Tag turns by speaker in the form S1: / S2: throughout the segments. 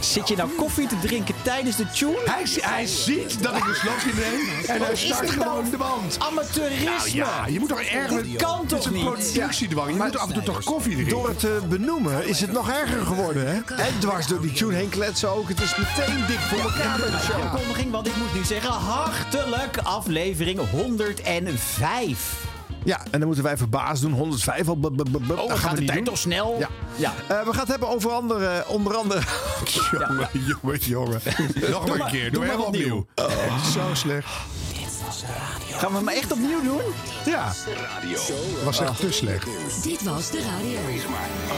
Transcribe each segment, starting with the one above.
S1: Zit je nou koffie te drinken tijdens de tune?
S2: Hij, zi- hij ziet dat ik een slokje neem en hij
S1: Wat is
S2: start
S1: dit nou?
S2: gewoon de band.
S1: Amateurisme!
S2: Nou ja, je moet toch ergens...
S1: Dit kan
S2: Het is
S1: toch
S2: een
S1: niet?
S2: productiedwang. Je moet af en toe toch koffie drinken.
S3: Door het te benoemen is het nog erger geworden, hè? En dwars door die tune heen kletsen ook. Het is meteen dik voor elkaar bij de show.
S1: Aankondiging, want ik moet nu zeggen, hartelijk aflevering 105.
S3: Ja, en dan moeten wij verbaasd doen. 105 al. bub, bub, bub, bub.
S1: Oh,
S3: dat gaan
S1: gaat
S3: we
S1: de
S3: niet
S1: tijd
S3: doen.
S1: toch snel?
S3: Ja.
S1: ja.
S3: Eh, we gaan het hebben over andere, eh, onder andere... jongen, jongen, jongen.
S2: Nog maar een keer. Doe,
S1: doe maar
S2: helemaal
S1: opnieuw.
S2: opnieuw. Oh. Zo slecht.
S1: Gaan we hem echt opnieuw doen?
S3: Ja,
S2: was echt te slecht.
S4: Dit was de radio.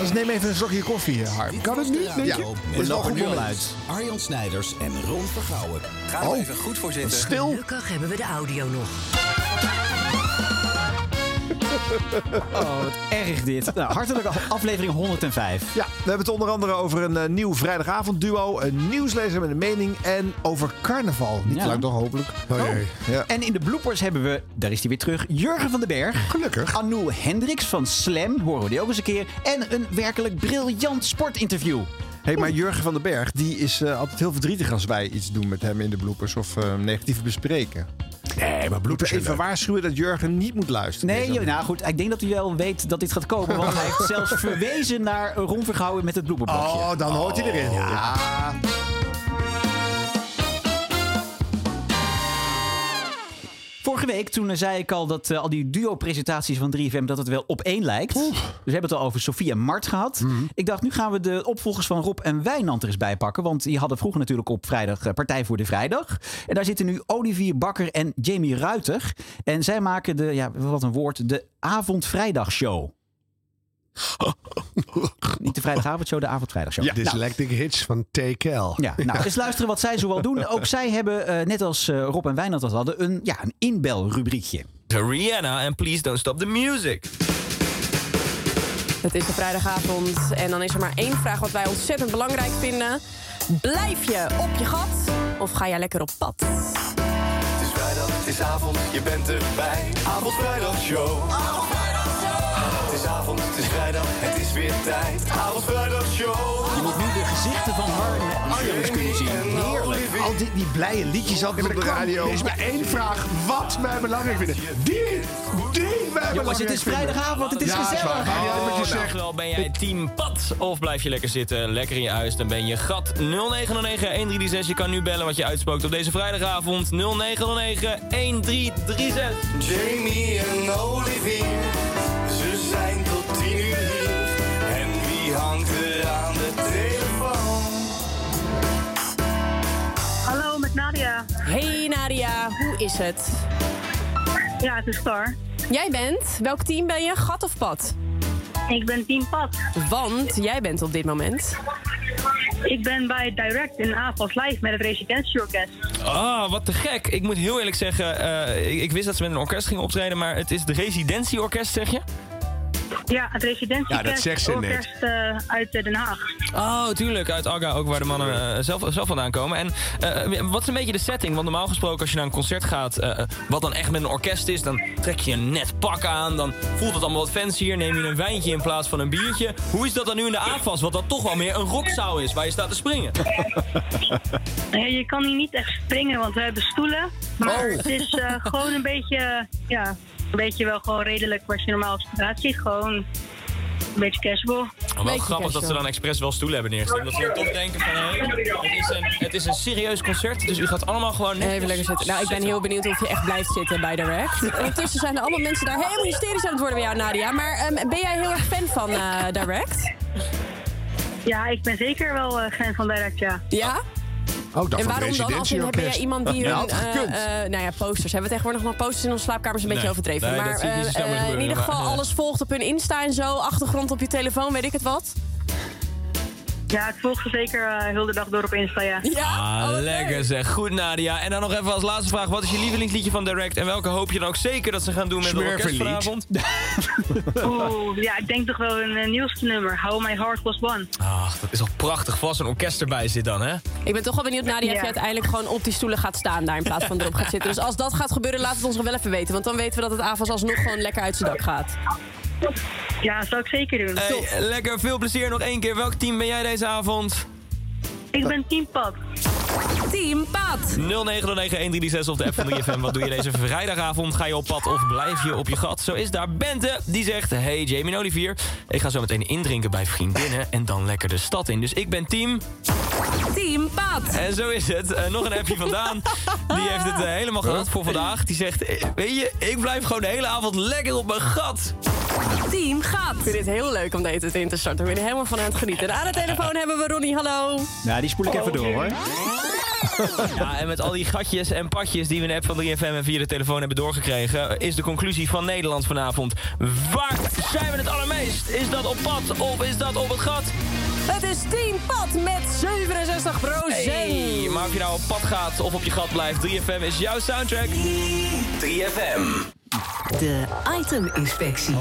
S3: dus neem even een slokje koffie, eh, Harm.
S2: Kan het niet, denk
S3: Ja,
S2: je?
S3: dat is wel goed
S1: nul
S3: moment.
S1: uit.
S5: Arjan Snijders en Ron Vergouwen.
S6: Ga
S2: Oh.
S6: er even goed voor zitten.
S3: Stil.
S4: Gelukkig hebben we de audio nog.
S1: Oh, wat erg dit. Nou, hartelijk af- aflevering 105.
S3: Ja, we hebben het onder andere over een eh, nieuw vrijdagavondduo, een nieuwslezer met een mening en over carnaval. Niet
S1: Ja.
S3: te lang nog, hopelijk.
S2: Oh, jee.
S3: Ja.
S1: En in de bloopers hebben we, daar is hij weer terug, Jurgen van den Berg.
S2: Gelukkig.
S1: Anouk Hendricks van Slam, horen we die ook eens een keer. En een werkelijk briljant sportinterview.
S3: Hey, maar Jurgen van den Berg, die is eh, altijd heel verdrietig als wij iets doen met hem in de bloopers of eh, negatief bespreken.
S2: Nee, maar bloed is
S3: Even
S2: even
S3: waarschuwen dat Jurgen niet moet luisteren.
S1: Nee,
S3: Deze-
S1: joh, nou goed, ik denk dat hij wel weet dat dit gaat komen. Want hij heeft zelfs verwezen naar Ron Vergouwen met het bloepenblokje.
S3: Oh, dan hoort hij erin. Ja.
S1: Vorige week toen eh, zei ik al dat eh, al die duo-presentaties van 3FM dat het wel op één lijkt. Dus we hebben het al over Sofie en Mart gehad. Ik dacht, nu gaan we de opvolgers van Rob en Wijnand er eens bij pakken. Want die hadden vroeger natuurlijk op vrijdag eh, Partij voor de Vrijdag. En daar zitten nu Olivier Bakker en Jamie Ruiter. En zij maken de, ja, wat een woord, de avondvrijdagshow. Niet de vrijdagavondshow, de avondvrijdagshow. Nou,
S2: Dyslectic hits van TKL.
S1: ja, nou, eens luisteren wat zij zoal doen. Ook zij hebben, eh, net als eh, Rob en Wijnand dat hadden, een, ja, een inbelrubriekje.
S6: Rihanna en Please Don't Stop the Music.
S7: Het is de vrijdagavond en dan is er maar één vraag wat wij ontzettend belangrijk vinden. Blijf je op je gat of ga jij lekker op pad?
S8: Het is vrijdag, het is avond, je bent erbij. Avondvrijdagshow. Het is avond, het is vrijdag, het is weer tijd. Avondvrijdagshow.
S1: Je moet nu de gezichten van Harm en Arjons kunnen zien. Heerlijk.
S3: Al die, die blije liedjes altijd op de radio.
S2: Er is maar één vraag wat wij belangrijk vinden. Die, die wij
S1: Jongens, het
S2: belangrijk
S1: is
S2: vinden.
S1: vrijdagavond, het is
S2: Ja, is waar.
S1: gezellig.
S2: Ga jij met je
S6: nou.
S2: zeggen.
S6: Wel, ben jij team pad of blijf je lekker zitten, lekker in je huis? Dan ben je gat 0909-1336. Je kan nu bellen wat je uitspookt op deze vrijdagavond. 0909-1336.
S8: Jamie en Olivier, ze zijn tot tien uur hier. En wie hangt er aan de telefoon?
S9: Hallo, met Nadia.
S7: Hey Nadia, hoe is het?
S9: Ja, het is klaar.
S7: Jij bent, welk team ben je, gat of pad?
S9: Ik ben Team Pat.
S7: Want jij bent op dit moment.
S9: Ik ben bij Direct in AFAS Live met het residentieorkest.
S6: Ah, wat te gek. Ik moet heel eerlijk zeggen, eh, ik, ik wist dat ze met een orkest gingen optreden, maar het is de residentieorkest, zeg je?
S9: Ja, het residentieorkest.
S2: Ja, dat zegt ze net.
S9: orkest, eh, uit eh, Den Haag.
S6: Oh, tuurlijk. Uit Agga, ook waar de mannen eh, zelf, zelf vandaan komen. En eh, wat is een beetje de setting? Want normaal gesproken, als je naar een concert gaat, eh, wat dan echt met een orkest is, dan trek je een net pak aan. Dan voelt het allemaal wat fancier. Neem je een wijntje in plaats van een biertje. Hoe is dat dan nu in de AFAS? Wat dat toch wel meer een rockzaal is, waar je staat te springen.
S9: Ja, je kan hier niet echt springen, want we hebben stoelen. Maar
S2: Oh.
S9: het is eh, gewoon een beetje, eh, ja, een beetje wel gewoon redelijk wat je normaal op straat ziet. Gewoon een beetje casual.
S6: wel
S7: Beetje
S6: grappig dat ze
S7: casual.
S6: dan expres wel stoelen hebben neergezet. Omdat ze dan toch denken van, hé, het, is een, het is een serieus concert. Dus u gaat allemaal gewoon...
S7: Even lekker zitten. Nou, ik ben heel benieuwd of je echt blijft zitten bij Direct. Ondertussen zijn er allemaal mensen daar helemaal hysterisch aan het worden bij jou, Nadia. Maar ehm, ben jij heel erg fan van eh, Direct?
S9: Ja, ik ben zeker wel eh, fan van Direct, ja.
S7: Ja?
S2: Oh, dat
S7: En
S2: van het
S7: waarom dan? Als in, ben jij
S2: residentieorkest.
S7: iemand die hun,
S3: had
S7: eh,
S3: gekund.
S7: eh, nou ja, posters. Hebben we tegenwoordig nog posters in onze slaapkamers? Een beetje
S6: Nee,
S7: overdreven.
S6: nee,
S7: maar
S6: dat zie ik niet zo
S7: eh,
S6: snel meer
S7: eh, in
S6: gebeuren,
S7: ieder geval
S6: maar, eh.
S7: alles volgt op hun Insta en zo. Achtergrond op je telefoon, weet ik het wat.
S9: Ja, ik volg ze zeker eh, heel de dag door op Insta, ja.
S7: Ja,
S6: Ah,
S7: oh, wat
S6: lekker
S7: leuk.
S6: zeg. Goed, Nadia. En dan nog even als laatste vraag. Wat is je lievelingsliedje van Direct? En welke hoop je dan ook zeker dat ze gaan doen met het orkest
S2: Smurfenlied.
S6: vanavond?
S9: Oeh, ja, ik denk toch wel een eh, nieuwste nummer. How My Heart Was One.
S6: Ach, dat is toch prachtig. Vast een orkest erbij zit dan, hè?
S7: Ik ben toch wel benieuwd, Nadia, of
S9: Ja.
S7: je uiteindelijk gewoon op die stoelen gaat staan daar in plaats van erop gaat zitten. Dus als dat gaat gebeuren, laat het ons nog wel even weten. Want dan weten we dat het avonds alsnog gewoon lekker uit zijn dak gaat.
S9: Ja, dat zou ik zeker doen.
S6: Hey, lekker, veel plezier nog één keer. Welk team ben jij deze avond?
S10: Ik ben Team Pap.
S7: Team Pat.
S6: 09091336 op de app van 3FM. Wat doe je deze vrijdagavond? Ga je op pad of blijf je op je gat? Zo is daar Bente. Die zegt, hey Jamie en Olivier. Ik ga zo meteen indrinken bij vriendinnen en dan lekker de stad in. Dus ik ben team.
S7: Team Pat.
S6: En zo is het. Eh, nog een appje vandaan. Die heeft het eh, helemaal gehad voor vandaag. Die zegt, eh, weet je, ik blijf gewoon de hele avond lekker op mijn gat.
S7: Team Gat. Ik vind het heel leuk om deze in te starten. Ik ben er helemaal van aan het genieten. En aan de telefoon hebben we Ronnie. Hallo.
S1: Nou, die spoel ik even door hoor.
S6: Ja, en met al die gatjes en padjes die we in de app van 3FM en via de telefoon hebben doorgekregen, is de conclusie van Nederland vanavond. Waar zijn we het allermeest? Is dat op pad of is dat op het gat?
S7: Het is Team Pat met 67 procent.
S6: Hey, maar of je nou op pad gaat of op je gat blijft, 3FM is jouw soundtrack. 3FM.
S11: De iteminspectie.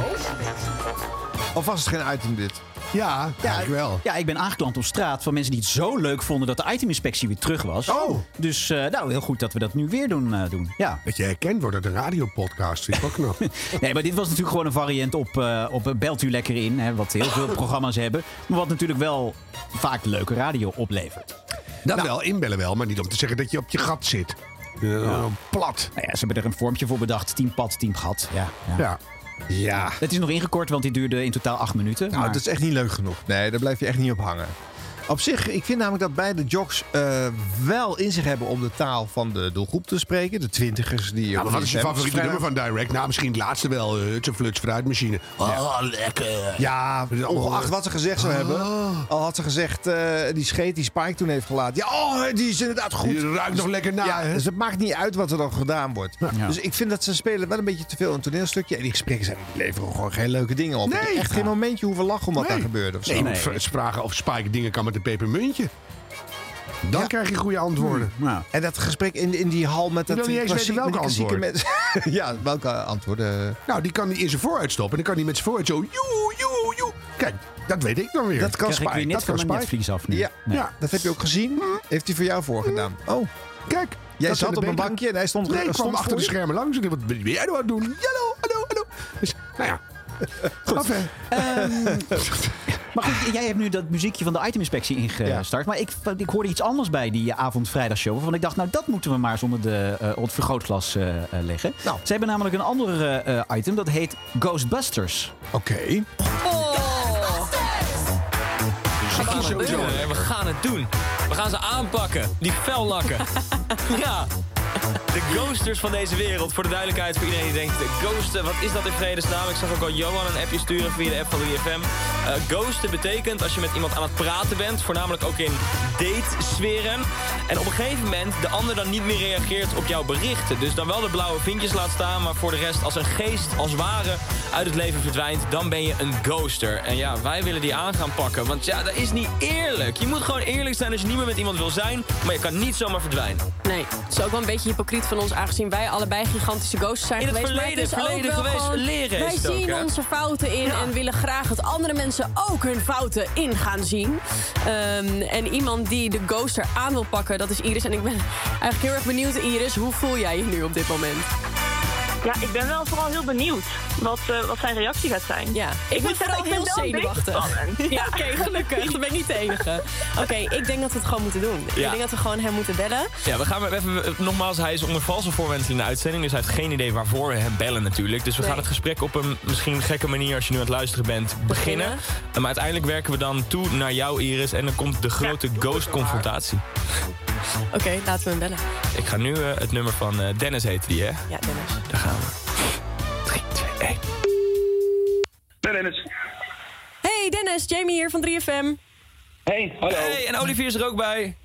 S3: Of was het geen item dit? Ja, ja wel.
S1: Ja, ik ben aangeklampt op straat van mensen die het zo leuk vonden dat de iteminspectie weer terug was.
S3: Oh.
S1: Dus eh, nou, heel goed dat we dat nu weer doen. eh, doen. Ja.
S2: Dat je herkend wordt uit een radiopodcast vind ik ook knap.
S1: Nee, maar dit was natuurlijk gewoon een variant op, eh, op Belt u lekker in. Hè, wat heel veel programma's hebben. Maar wat natuurlijk wel vaak leuke radio oplevert. Nou.
S2: Dat wel, inbellen wel, maar niet om te zeggen dat je op je gat zit. Eh, Plat.
S1: Nou ja, ze hebben er een vormpje voor bedacht. Team pad, team gat. Ja, ja.
S2: Ja. Ja.
S1: Het is nog ingekort, want dit duurde in totaal acht minuten.
S3: Nou,
S1: maar-
S3: dat is echt niet leuk genoeg. Nee, daar blijf je echt niet op hangen. Op zich, ik vind namelijk dat beide jocks eh, wel in zich hebben om de taal van de doelgroep te spreken. De twintigers die...
S2: Ja, maar wat is je favoriete
S3: Vrijdag-
S2: nummer van Direct? Nou, misschien het laatste wel. eh, Huts en Fluts fruitmachine. Oh, lekker.
S3: Ja, ongeacht wat ze gezegd
S2: Ah.
S3: zou hebben. Al had ze gezegd, eh, die scheet die Spike toen heeft gelaten. Ja, oh, die is inderdaad goed.
S2: Die ruikt nog lekker na,
S3: Ja,
S2: hè?
S3: dus het maakt niet uit wat er dan gedaan wordt.
S1: Ja.
S3: Dus ik vind dat ze spelen wel een beetje te veel een toneelstukje. En die gesprekken zijn, die leveren gewoon geen leuke dingen op.
S2: Nee.
S3: Ik heb echt geen momentje hoeven lachen om wat
S2: Nee.
S3: daar gebeurde. Of zo.
S2: Nee,
S1: Nee.
S2: Ze vragen of Spike dingen kan met een pepermuntje. Dan
S3: Ja.
S2: krijg je goede antwoorden.
S1: Nou,
S3: En dat gesprek in, in die hal met dat
S2: wil niet eens
S3: klassiek-
S2: weten
S3: met die
S2: welke
S3: klassieke mensen. ja, welke antwoorden?
S2: Nou, die kan hij in zijn vooruit stoppen. En dan kan hij met zijn vooruit zo... Joe, joe, joe. Kijk, dat weet ik dan weer.
S3: Dat kan
S1: krijg ik
S3: Spike.
S1: weer net
S3: dat
S1: van
S3: kan
S1: mijn
S3: Spike.
S1: netvlies af nu.
S3: Ja,
S1: Nee.
S3: ja, dat heb je ook gezien. Heeft hij voor jou voorgedaan. Oh,
S2: Hmm. Kijk.
S3: Jij
S2: dat
S3: zat
S2: zijn de
S3: op een
S2: betere-
S3: bankje en hij stond-
S2: Nee, ik
S3: stond
S2: kwam achter
S3: voor
S2: de
S3: je.
S2: schermen langs. En ik dacht, wat ben jij nou aan het doen? Hallo, hallo, hallo. Dus, nou ja. Goed.
S1: Ehm, Maar goed, jij hebt nu dat muziekje van de iteminspectie ingestart. Maar ik, ik hoorde iets anders bij die avond-vrijdagshow. Waarvan ik dacht, nou dat moeten we maar eens onder, de, eh, onder het vergrootglas eh, eh, leggen.
S3: Nou.
S1: Ze hebben namelijk een ander eh, eh, item. Dat heet Ghostbusters.
S2: Oké.
S6: We Dus gaan, het doen, hè. we gaan het doen. We gaan ze aanpakken, die fellakken. ja. De ghosters van deze wereld. Voor de duidelijkheid, voor iedereen die denkt... De ghosten, wat is dat in vredesnaam? Ik zag ook al Johan een appje sturen via de app van 3FM. Eh, ghosten betekent als je met iemand aan het praten bent... voornamelijk ook in datesferen. En op een gegeven moment de ander dan niet meer reageert op jouw berichten. Dus dan wel de blauwe vinkjes laat staan... maar voor de rest als een geest, als ware, uit het leven verdwijnt... dan ben je een ghoster. En ja, wij willen die aan gaan pakken. Want ja, dat is niet eerlijk. Je moet gewoon eerlijk zijn als je niet meer met iemand wil zijn... maar je kan niet zomaar verdwijnen.
S7: Nee, het is ook wel een beetje hypocriet van ons, aangezien wij allebei gigantische ghosts zijn
S6: In het
S7: geweest.
S6: verleden,
S7: maar het is
S6: verleden
S7: ook wel
S6: geweest,
S7: gewoon,
S6: leren is
S7: Wij
S6: het ook,
S7: zien
S6: hè?
S7: onze fouten in en willen graag dat andere mensen ook hun fouten in gaan zien. Ehm, en iemand die de ghost er aan wil pakken, dat is Iris. En ik ben eigenlijk heel erg benieuwd, Iris, hoe voel jij je nu op dit moment?
S10: Ja, ik ben wel vooral heel benieuwd wat, eh, wat zijn reactie gaat zijn.
S7: Ja, ik, ben
S10: moet
S7: vooral
S10: zeggen,
S7: heel
S10: ik ben wel een beetje
S7: zenuwachtig.
S10: spannend.
S7: Ja,
S10: Ja.
S7: oké, gelukkig. Dan ben ik niet de enige. Oké, ik denk dat we het gewoon moeten doen. Ik
S6: Ja.
S7: denk dat we gewoon hem moeten bellen.
S6: Ja, we gaan maar even. eh, Nogmaals, hij is onder valse voorwendsel in de uitzending. Dus hij heeft geen idee waarvoor we hem bellen, natuurlijk. Dus we
S7: Nee.
S6: gaan het gesprek op een misschien gekke manier, als je nu aan het luisteren bent, beginnen. Eh,
S7: Beginnen.
S6: Maar uiteindelijk werken we dan toe naar jou, Iris. En dan komt de grote ghost-confrontatie.
S7: Oké, laten we hem bellen.
S6: Ik ga nu eh, het nummer van eh, Dennis heet die, hè?
S7: Ja, Dennis.
S6: Daar gaan we. 3, 2, 1.
S12: Ben Dennis.
S7: Hey Dennis, Jamie hier van 3FM.
S12: Hey, hallo.
S6: Hey, en Olivier is er ook bij.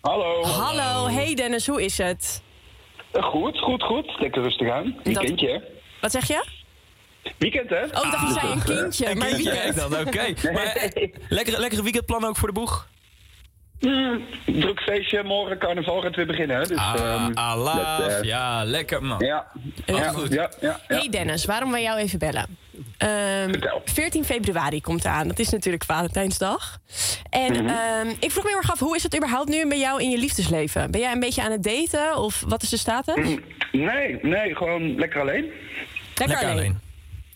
S12: Hallo.
S7: Hallo, hey Dennis, hoe is het?
S12: Eh, Goed, goed, goed. Lekker rustig aan. Weekendje, hè?
S7: Wat zeg je?
S12: Weekend, hè?
S7: Oh, ik dacht je zei een kindje.
S6: Een
S7: maar
S6: kindje
S7: weekend.
S6: heet dat, oké. Maar, eh, lekkere, lekkere weekendplannen ook voor de boeg?
S12: Mm, druk feestje. Morgen carnaval gaat weer beginnen, hè? Dus,
S6: Ah,
S12: ehm, dat,
S6: alaaf.
S12: eh,
S6: Ja, lekker man.
S12: Ja. Ja,
S6: goed.
S12: ja, ja, ja.
S7: Hey Dennis, waarom wij jou even bellen? Ehm,
S12: Vertel.
S7: 14 februari komt eraan. Dat is natuurlijk Valentijnsdag. En
S12: Mhm.
S7: ehm, ik vroeg me heel erg af, hoe is het überhaupt nu bij jou in je liefdesleven? Ben jij een beetje aan het daten
S12: Mhm.
S7: of wat is de status? Lekker,
S12: Nee, nee, gewoon lekker alleen.
S6: Lekker alleen.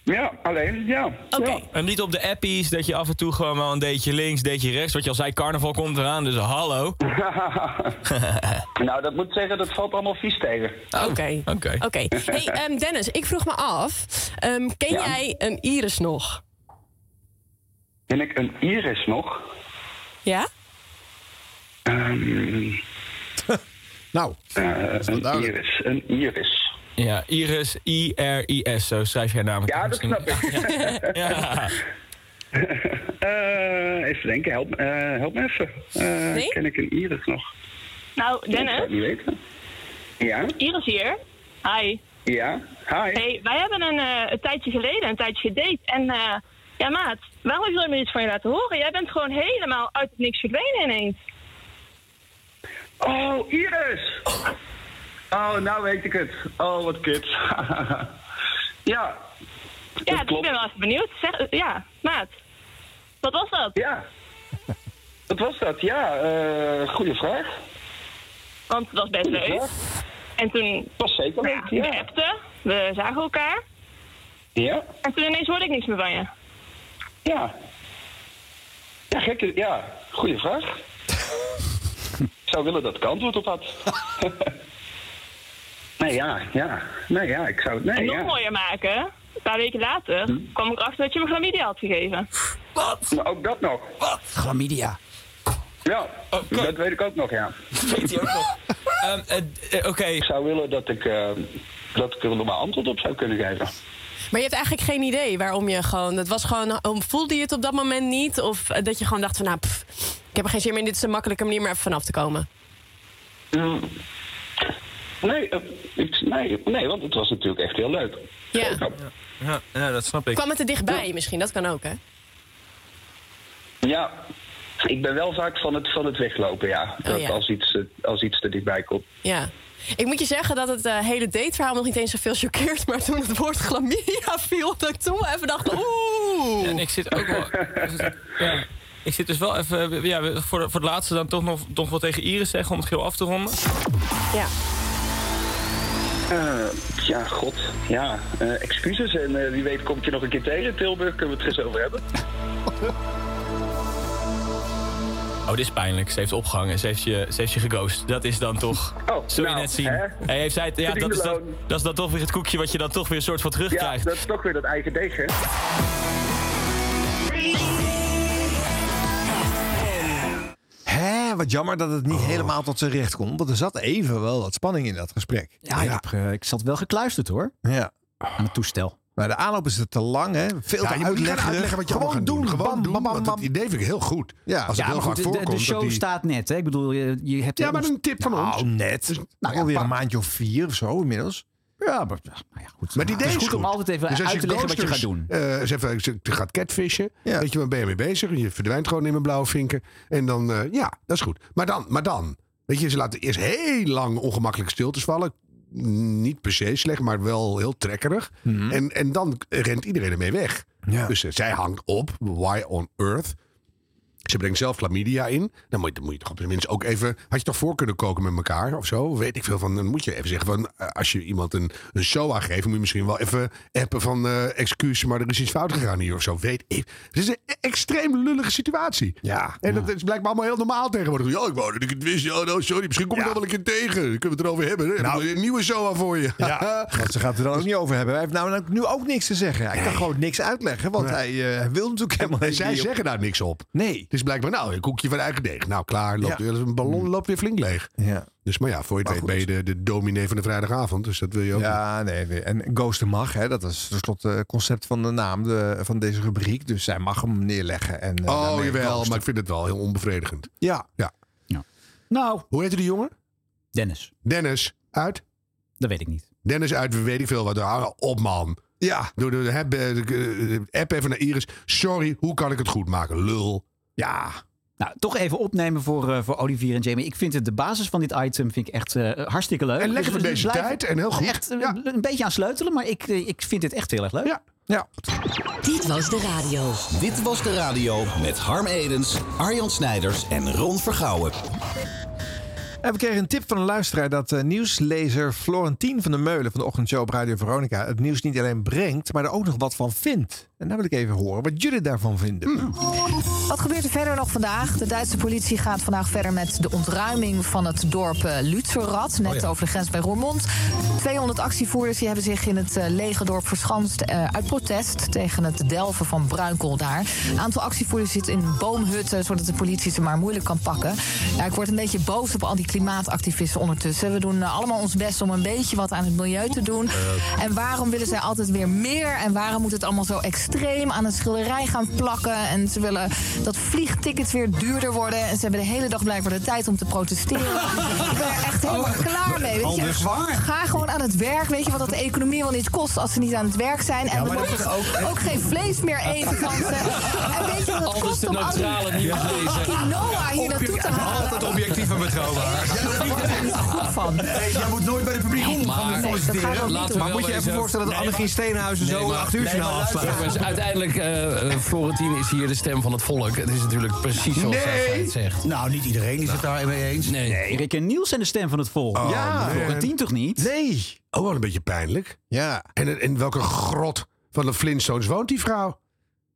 S12: Ja, alleen, ja.
S7: Oké.
S6: En niet op de appies, dat je af en toe gewoon wel een deetje links, deetje rechts. Wat je al zei, carnaval komt eraan, dus hallo.
S12: nou, dat moet zeggen, dat valt allemaal vies tegen.
S7: Oh,
S12: Dus, eh,
S7: Oké. Oké. Hey, ehm, Dennis, ik vroeg me af. ehm, ken
S12: Ja.
S7: jij een iris nog?
S12: Ben ik een iris nog?
S7: Ja?
S12: Ehm,
S3: Nou,
S12: eh, een iris, een iris.
S6: Ja, Iris, I-R-I-S, zo schrijf jij namelijk.
S12: Ja, dat snap ik.
S6: Ja.
S12: Eh, even denken, help, eh, help me even. Eh,
S7: Nee?
S12: Ken ik een iris nog?
S13: Nou,
S12: Ik zou het
S13: Dennis,
S12: niet weten. Ja,
S13: Iris hier. Hi.
S12: ja, hi.
S13: Hey, wij hebben een, eh, een tijdje geleden een tijdje gedate. En eh, ja, maat, waarom heb je nooit meer iets van je laten horen? Jij bent gewoon helemaal uit het niks verdwenen ineens.
S12: Oh, Iris! Oh, nou weet ik het. Oh, wat kut. ja,
S13: Ja, dus ik
S12: klopt.
S13: ben wel even benieuwd. Zeg, eh, ja, maat. Wat was dat?
S12: ja. Wat was dat? Ja, eh goede vraag.
S13: Want het was best
S12: Goeie
S13: leuk.
S12: vraag.
S13: En toen
S12: Was zeker
S13: nou ja,
S12: leuk,
S13: we
S12: ja.
S13: appten, we zagen elkaar.
S12: Ja,
S13: En toen ineens hoorde ik niks meer van je.
S12: ja. Ja, gekke, ja, goede vraag. ik zou willen dat ik antwoord op had. nee, ja, ja. Nee, ja, ik zou het,
S13: En
S12: nee,
S13: nog
S12: ja. Hm.
S13: mooier maken, een paar weken later, kwam ik erachter dat je me chlamydia had gegeven.
S12: Maar ook dat nog.
S1: Chlamydia.
S12: Ja,
S6: Oké.
S12: dat weet ik ook nog, ja.
S6: Weet hij ook nog. Ehm, eh, eh, Oké,
S12: Ik zou willen dat ik, eh, dat ik er nog maar antwoord op zou kunnen geven.
S7: Maar je hebt eigenlijk geen idee waarom je gewoon... Het was gewoon... om- Voelde je het op dat moment niet? Of eh, dat je gewoon dacht van... Nou, pff, ik heb er geen zin meer in. Dit is een makkelijke manier om er even vanaf te komen.
S12: Mm. Nee, eh, ik, nee, nee, want het was natuurlijk echt heel leuk.
S7: Ja.
S12: Zeker.
S6: ja, ja, dat snap ik.
S7: Kwam het er dichtbij misschien? Dat kan ook, hè?
S12: Ja, ik ben wel vaak van het, van het weglopen, ja. Dat
S7: ja.
S12: Als, iets, eh, als iets er dichtbij komt.
S7: Ja. Ik moet je zeggen dat het eh, hele dateverhaal nog niet eens zoveel choqueert. Maar toen het woord chlamydia viel, dat ik toen wel even dacht... Oeh.
S6: En ik zit ook wel. Dus Ja. Ik zit dus wel even. Ja, voor, voor het laatste dan toch nog toch wel tegen Iris zeggen om het geel af te ronden.
S7: Ja.
S12: Eh, ja, god. Ja, eh, excuses. En eh, wie weet kom ik je nog een keer tegen in Tilburg. Kunnen we het er eens over hebben.
S6: Oh, dit is pijnlijk. Ze heeft opgehangen. Ze heeft je, ze heeft je geghost. Dat is dan toch.
S12: Oh,
S6: Zul je
S12: nou,
S6: net zien.
S12: hè?
S6: Hey, heeft zij het, ja, dat,
S12: Verdiende
S6: is dan,
S12: loon.
S6: dat is dan toch weer het koekje wat je dan toch weer een soort van
S12: Ja,
S6: terugkrijgt.
S12: dat is toch weer dat eigen deeg, hè?
S3: Hè, wat jammer dat het niet
S1: Oh.
S3: helemaal tot zijn recht komt. Want er zat even wel wat spanning in dat gesprek.
S1: Ja, Ik, heb, eh, ik zat wel gekluisterd hoor.
S3: ja.
S1: Aan het toestel.
S3: Maar de aanloop is te lang, hè? Veel
S2: Ja, je
S3: te
S2: moet niet gaan
S3: uitleggen.
S2: uitleggen wat je allemaal gaat doen. Gewoon
S3: bam,
S2: doen.
S3: bam, bam,
S2: want
S3: bam.
S2: dat idee vind ik heel goed.
S3: Ja.
S2: Als het
S3: Ja,
S2: heel
S1: Goed,
S2: vaak
S1: de,
S2: voorkomt.
S1: de- de show
S2: dat die-
S1: staat net. Hè? Ik bedoel, je, je hebt
S2: Ja, maar een tip van ons.
S3: Nou, net. Dus, nou,
S2: ja,
S3: alweer een
S2: pa-
S3: maandje of vier of zo inmiddels.
S1: Ja, maar, nou ja, goed.
S2: Maar die
S1: het
S2: idee
S1: is goed, om altijd even
S2: Dus als
S1: uit te leggen wat je gaat
S2: ghosters,
S1: doen.
S2: eh, eens even, als je gaat catfishen.
S3: Ja.
S2: Weet je, waar ben je mee bezig? Je verdwijnt gewoon in mijn blauwe vinken. En dan, eh, ja, dat is goed. Maar dan, maar dan. Weet je, ze laten eerst heel lang ongemakkelijk stiltes vallen. Niet per se slecht, maar wel heel trekkerig.
S1: Mhm.
S2: En, en dan rent iedereen ermee weg.
S3: Ja.
S2: Dus eh, zij hangt op. Why on earth? Ze brengt zelf chlamydia in. Dan moet, je, dan moet je toch op zijn minst ook even... Had je toch voor kunnen koken met elkaar of zo? Weet ik veel van. Dan moet je even zeggen van... eh, Als je iemand een, een SOA geeft... moet je misschien wel even appen van... eh excuus, maar er is iets fout gegaan hier of zo. Weet ik. Het is een e- extreem lullige situatie.
S3: Ja.
S2: En dat is blijkbaar allemaal heel normaal tegenwoordig. Ja, ik wou dat ik het wist. Ja, nou, sorry. Misschien kom ik
S3: Ja.
S2: dat wel een keer tegen. Dan kunnen we het erover hebben. Dan hebben we weer een nieuwe SOA voor je.
S3: Nou. Ja. Want ze gaat er dan ook niet over hebben. Hij heeft namelijk nu ook niks te zeggen. Hij kan gewoon niks uitleggen, want hij eh, hij wil natuurlijk helemaal
S2: en
S3: niet.
S2: zij zeggen daar niks op.
S3: Nee.
S2: Het is blijkbaar, nou, een koekje van eigen deeg. Nou, klaar. Loopt weer, een ballon loopt weer flink leeg.
S3: Mm. Ja.
S2: Dus maar ja, voor je het weet
S3: goed.
S2: ben je de, de dominee van de vrijdagavond. Dus dat wil je ook. niet.
S3: Ja, nee. nee. En Ghosten mag, hè. Dat is tenslotte het concept van de naam de, van deze rubriek. Dus zij mag hem neerleggen. En, eh,
S2: oh,
S3: daarmee
S2: jawel.
S3: ghosten.
S2: Maar ik vind het wel heel onbevredigend.
S3: Ja.
S1: Nou,
S2: Hoe heette die jongen?
S1: Dennis,
S2: Dennis. Uit?
S1: dat weet ik niet.
S2: Dennis uit, weet ik veel wat. Ah, op, man.
S3: Ja.
S2: Doe, doe, heb, eh, eh, app even naar Iris. Sorry, hoe kan ik het goed maken? Lul.
S3: Ja.
S1: Nou, toch even opnemen voor, eh, voor Olivier en Jamie. Ik vind het de basis van dit item vind ik echt eh, hartstikke leuk.
S2: En
S1: Dus-
S2: lekker voor
S1: dus
S2: deze
S1: blijf
S2: tijd. En heel goed.
S1: Echt eh,
S2: ja.
S1: een beetje aan sleutelen, maar ik, eh, ik vind dit echt heel erg leuk.
S2: Ja.
S3: Ja.
S11: Dit was de radio.
S5: Dit was de radio met Harm Edens, Arjan Snijders en Ron Vergouwen.
S3: En we kregen een tip van een luisteraar dat eh, nieuwslezer Florentien van de Meulen van de ochtendshow op Radio Veronica het nieuws niet alleen brengt, maar er ook nog wat van vindt. En daar wil ik even horen wat jullie daarvan vinden.
S14: Mm.
S15: Wat gebeurt er verder nog vandaag? De Duitse politie gaat vandaag verder met de ontruiming van het dorp eh, Lutzerat, net
S14: Oh ja.
S15: over de grens bij Roermond. 200 actievoerders die hebben zich in het eh, lege dorp verschanst eh, uit protest tegen het delven van bruinkool daar. Een aantal actievoerders zitten in boomhutten, zodat de politie ze maar moeilijk kan pakken. Ja, ik word een beetje boos op al die klimaatactivisten ondertussen. We doen eh, allemaal ons best om een beetje wat aan het milieu te doen.
S14: Eh,
S15: En waarom willen zij altijd weer meer? En waarom moet het allemaal zo extreem aan een schilderij gaan plakken? En ze willen dat vliegtickets weer duurder worden. En ze hebben de hele dag blijkbaar de tijd om te protesteren. Ik ben er echt helemaal
S14: Oh,
S15: klaar mee. Weet
S14: al
S15: je?
S14: dus waar.
S15: Ga gewoon aan het werk. Weet je wat dat de economie wel niet kost als ze niet aan het werk zijn? En
S14: Ja,
S15: we
S14: maar dat
S15: mogen
S14: is ook-
S15: ook geen vlees meer eten van ze. En weet je wat
S14: Al
S15: het
S14: dus
S15: kost
S14: de
S15: om al die,
S14: neutrale nieuws
S15: al die
S14: lezen.
S15: quinoa hier naartoe te halen?
S16: Altijd objectief en betrouwbaar.
S15: goed van.
S16: Hey, jij moet nooit bij de publieke omroep gaan solliciteren. maar moet je even voorstellen dat Annegien Steenhuizen zo acht uur
S17: nee,
S16: journaal
S17: maar
S16: afsluit?
S17: luister, jongens, Uiteindelijk, eh eh, Florentien is hier de stem van het volk. Het is natuurlijk precies zoals zij het zegt.
S1: Nou, niet iedereen is het daarmee eens. Nee. Rick en Niels zijn de stem van het volk.
S2: Oh,
S1: ja,
S2: man.
S1: Florentien toch niet?
S3: Nee.
S2: Oh, wel een beetje pijnlijk.
S3: Ja.
S2: En in welke grot van de Flintstones woont die vrouw?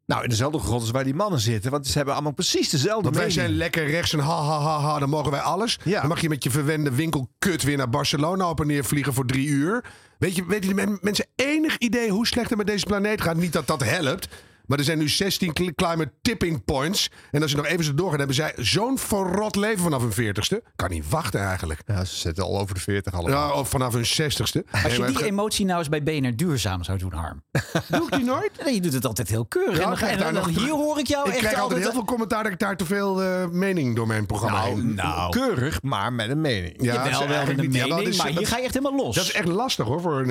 S3: Nou, in dezelfde grot als waar die mannen zitten, want ze hebben allemaal precies dezelfde
S2: Want wij
S3: mening.
S2: zijn lekker rechts en ha ha ha ha, dan mogen wij alles. Dan mag je met je verwende winkelkut weer naar Barcelona op en neer vliegen voor drie uur. Weet je, weten die men- mensen enig idee hoe slecht het met deze planeet gaat? Niet dat dat helpt. Maar er zijn nu 16 cli- climate tipping points. En als ze nog even zo doorgaan, hebben zij zo'n verrot leven vanaf hun 40ste. Kan niet wachten eigenlijk.
S3: Ja, ze zitten al over de 40
S2: allemaal. Ja, of vanaf hun 60ste.
S1: Als
S2: Nee,
S1: je
S2: maar
S1: die
S2: het-
S1: emotie nou eens bij BNR duurzaam zou doen, Harm.
S2: Doe ik die nooit?
S1: Nee, je doet het altijd heel
S2: Ja,
S1: keurig.
S2: ik
S1: en dan,
S2: krijg
S1: en
S2: daar
S1: dan-
S2: nog
S1: hier
S2: terug-
S1: hoor ik jou
S2: ik
S1: echt
S2: krijg altijd heel veel commentaar dat ik daar te veel eh, mening door mijn programma
S1: Nou,
S2: hou.
S3: Nou, Keurig, maar met een mening.
S2: Ja,
S1: Jawel,
S2: ze
S1: wel met
S2: eigenlijk
S1: een
S2: niet. Ja, wel,
S1: mening,
S2: dit is-
S1: maar
S2: dat-
S1: hier ga je echt helemaal los.
S2: Dat is echt lastig hoor, voor een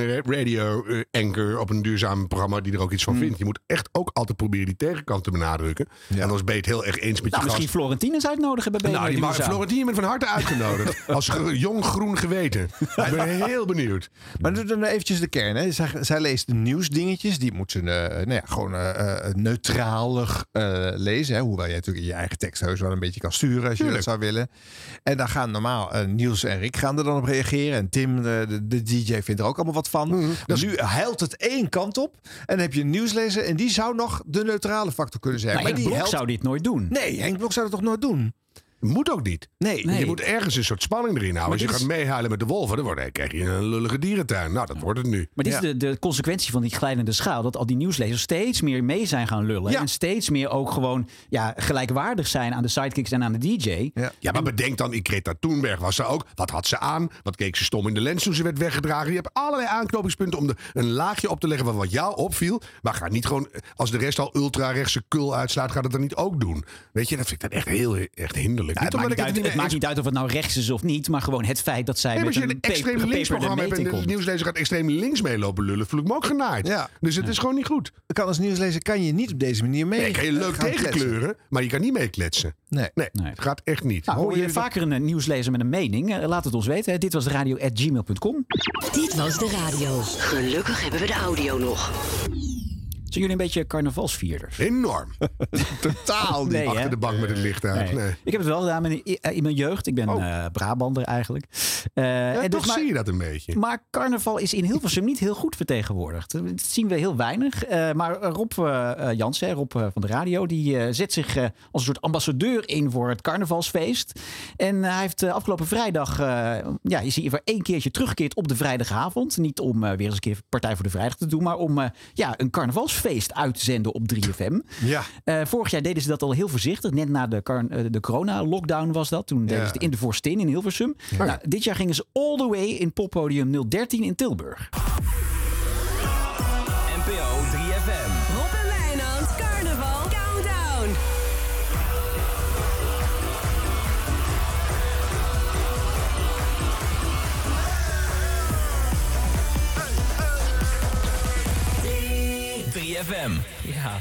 S2: radio-anchor op een duurzaam programma die er ook iets
S1: Hmm.
S2: van vindt. Je moet echt ook altijd proberen die tegenkant te benadrukken. En anders ben je het heel erg eens
S1: Nou,
S2: met je
S1: misschien
S2: gast.
S1: Florentien eens uitnodigen bij BNR
S2: Nou, die mag,
S1: Duurzaam.
S2: Florentien, je bent van harte uitgenodigd. als gro- jong groen geweten. Ik ben heel benieuwd.
S3: Maar doe dan eventjes de kern. Hè. Zij, zij leest de nieuwsdingetjes. Die moet ze eh, nou ja, gewoon eh, eh, neutralig eh, lezen. Hè. Hoewel jij natuurlijk in je eigen tekst heus wel een beetje kan sturen als je dat zou willen. En daar gaan normaal eh, Niels en Rick gaan er dan op reageren. En Tim, eh, de, de DJ, vindt er ook allemaal wat
S2: Mhm.
S3: van. Dus nu heilt het één kant op. En dan heb je een nieuwslezer. En die zou nog de neutrale factor kunnen zijn.
S1: Nou, Henk
S3: die
S1: Blok
S3: heilt-
S1: zou dit nooit doen.
S3: Nee, Henk Blok zou dat toch nooit doen?
S2: Moet ook niet.
S3: Nee.
S2: Je moet ergens een soort spanning erin houden. Nou, Als je
S1: dit
S2: gaat
S1: is-
S2: meehuilen met de wolven, dan wordt- dan krijg je een lullige dierentuin. Nou, dat wordt het nu.
S1: Maar dit
S2: Ja.
S1: is de, de consequentie van die glijdende schaal. Dat al die nieuwslezers steeds meer mee zijn gaan lullen. En steeds meer ook gewoon ja, gelijkwaardig zijn aan de sidekicks en aan de DJ.
S3: Ja,
S2: maar bedenk dan, Greta Thunberg was ze ook. Wat had ze aan? Wat keek ze stom in de lens toen ze werd weggedragen? Je hebt allerlei aanknopingspunten om de, een laagje op te leggen van wat jou opviel. Maar ga niet gewoon, als de rest al ultra-rechtse kul uitslaat, gaat het dan niet ook doen. Weet je, dat vind ik dan echt heel echt hinderlijk.
S1: Ja, het
S2: Niet
S1: maakt,
S2: omdat
S1: niet
S2: ik
S1: uit,
S2: het
S1: het maakt
S2: niet mee
S1: niet uit of het nou rechts is of niet. Maar gewoon het feit dat zij
S2: Nee, maar
S1: met
S2: als je
S1: een
S2: een extreem
S1: pe-
S2: links
S1: gepeperde
S2: programma hebt en
S1: meting
S2: de
S1: komt.
S2: nieuwslezer gaat extreem links mee lopen lullen, vloek me ook genaaid.
S3: Ja.
S2: Dus het is gewoon niet goed.
S3: Kan als nieuwslezer kan je niet op deze manier mee.
S2: Nee, kan je leuk
S3: gaan kletsen.
S2: tegenkleuren, maar je kan niet mee kletsen.
S3: Nee.
S2: Nee, het gaat echt niet.
S1: Nou, hoor je
S2: jullie dat?
S1: vaker een eh, nieuwslezer met een mening? Eh, Laat het ons weten. hè. Dit was radio.gmail.com.
S11: Dit was de radio. Gelukkig hebben we de audio nog.
S1: Zijn jullie een beetje carnavalsvierders?
S2: Enorm.
S3: Totaal
S1: niet.
S2: Achter de bank met het licht uit. Nee. Oh.
S1: Ik heb het wel gedaan in, in mijn jeugd. Ik ben eh, Brabander eigenlijk. Eh,
S2: Ja,
S1: en
S2: toch
S1: dus maar-
S2: zie je dat een beetje.
S1: Maar carnaval is in Hilversum niet heel goed vertegenwoordigd. Dat zien we heel weinig. Eh, maar Rob eh, eh, Jansen, Rob eh, van de radio, die eh, zet zich eh, als een soort ambassadeur in voor het carnavalsfeest. En hij heeft eh, afgelopen vrijdag, eh, ja, is hij voor één keertje teruggekeerd op de vrijdagavond. Niet om eh, weer eens een keer Partij voor de Vrijdag te doen, maar om eh, ja, een carnavalsfeest uit te zenden op 3FM.
S3: Ja.
S1: Eh, vorig jaar deden ze dat al heel voorzichtig. Net na de, car- eh, de corona-lockdown was dat. Toen deden ze het in de Voorstin in Hilversum. Nou, dit jaar gingen ze all the way in poppodium 013 in Tilburg.
S5: NPO 3FM.
S14: Rob en Wijnand, carnaval, countdown.
S5: Hey, 3FM. Ja.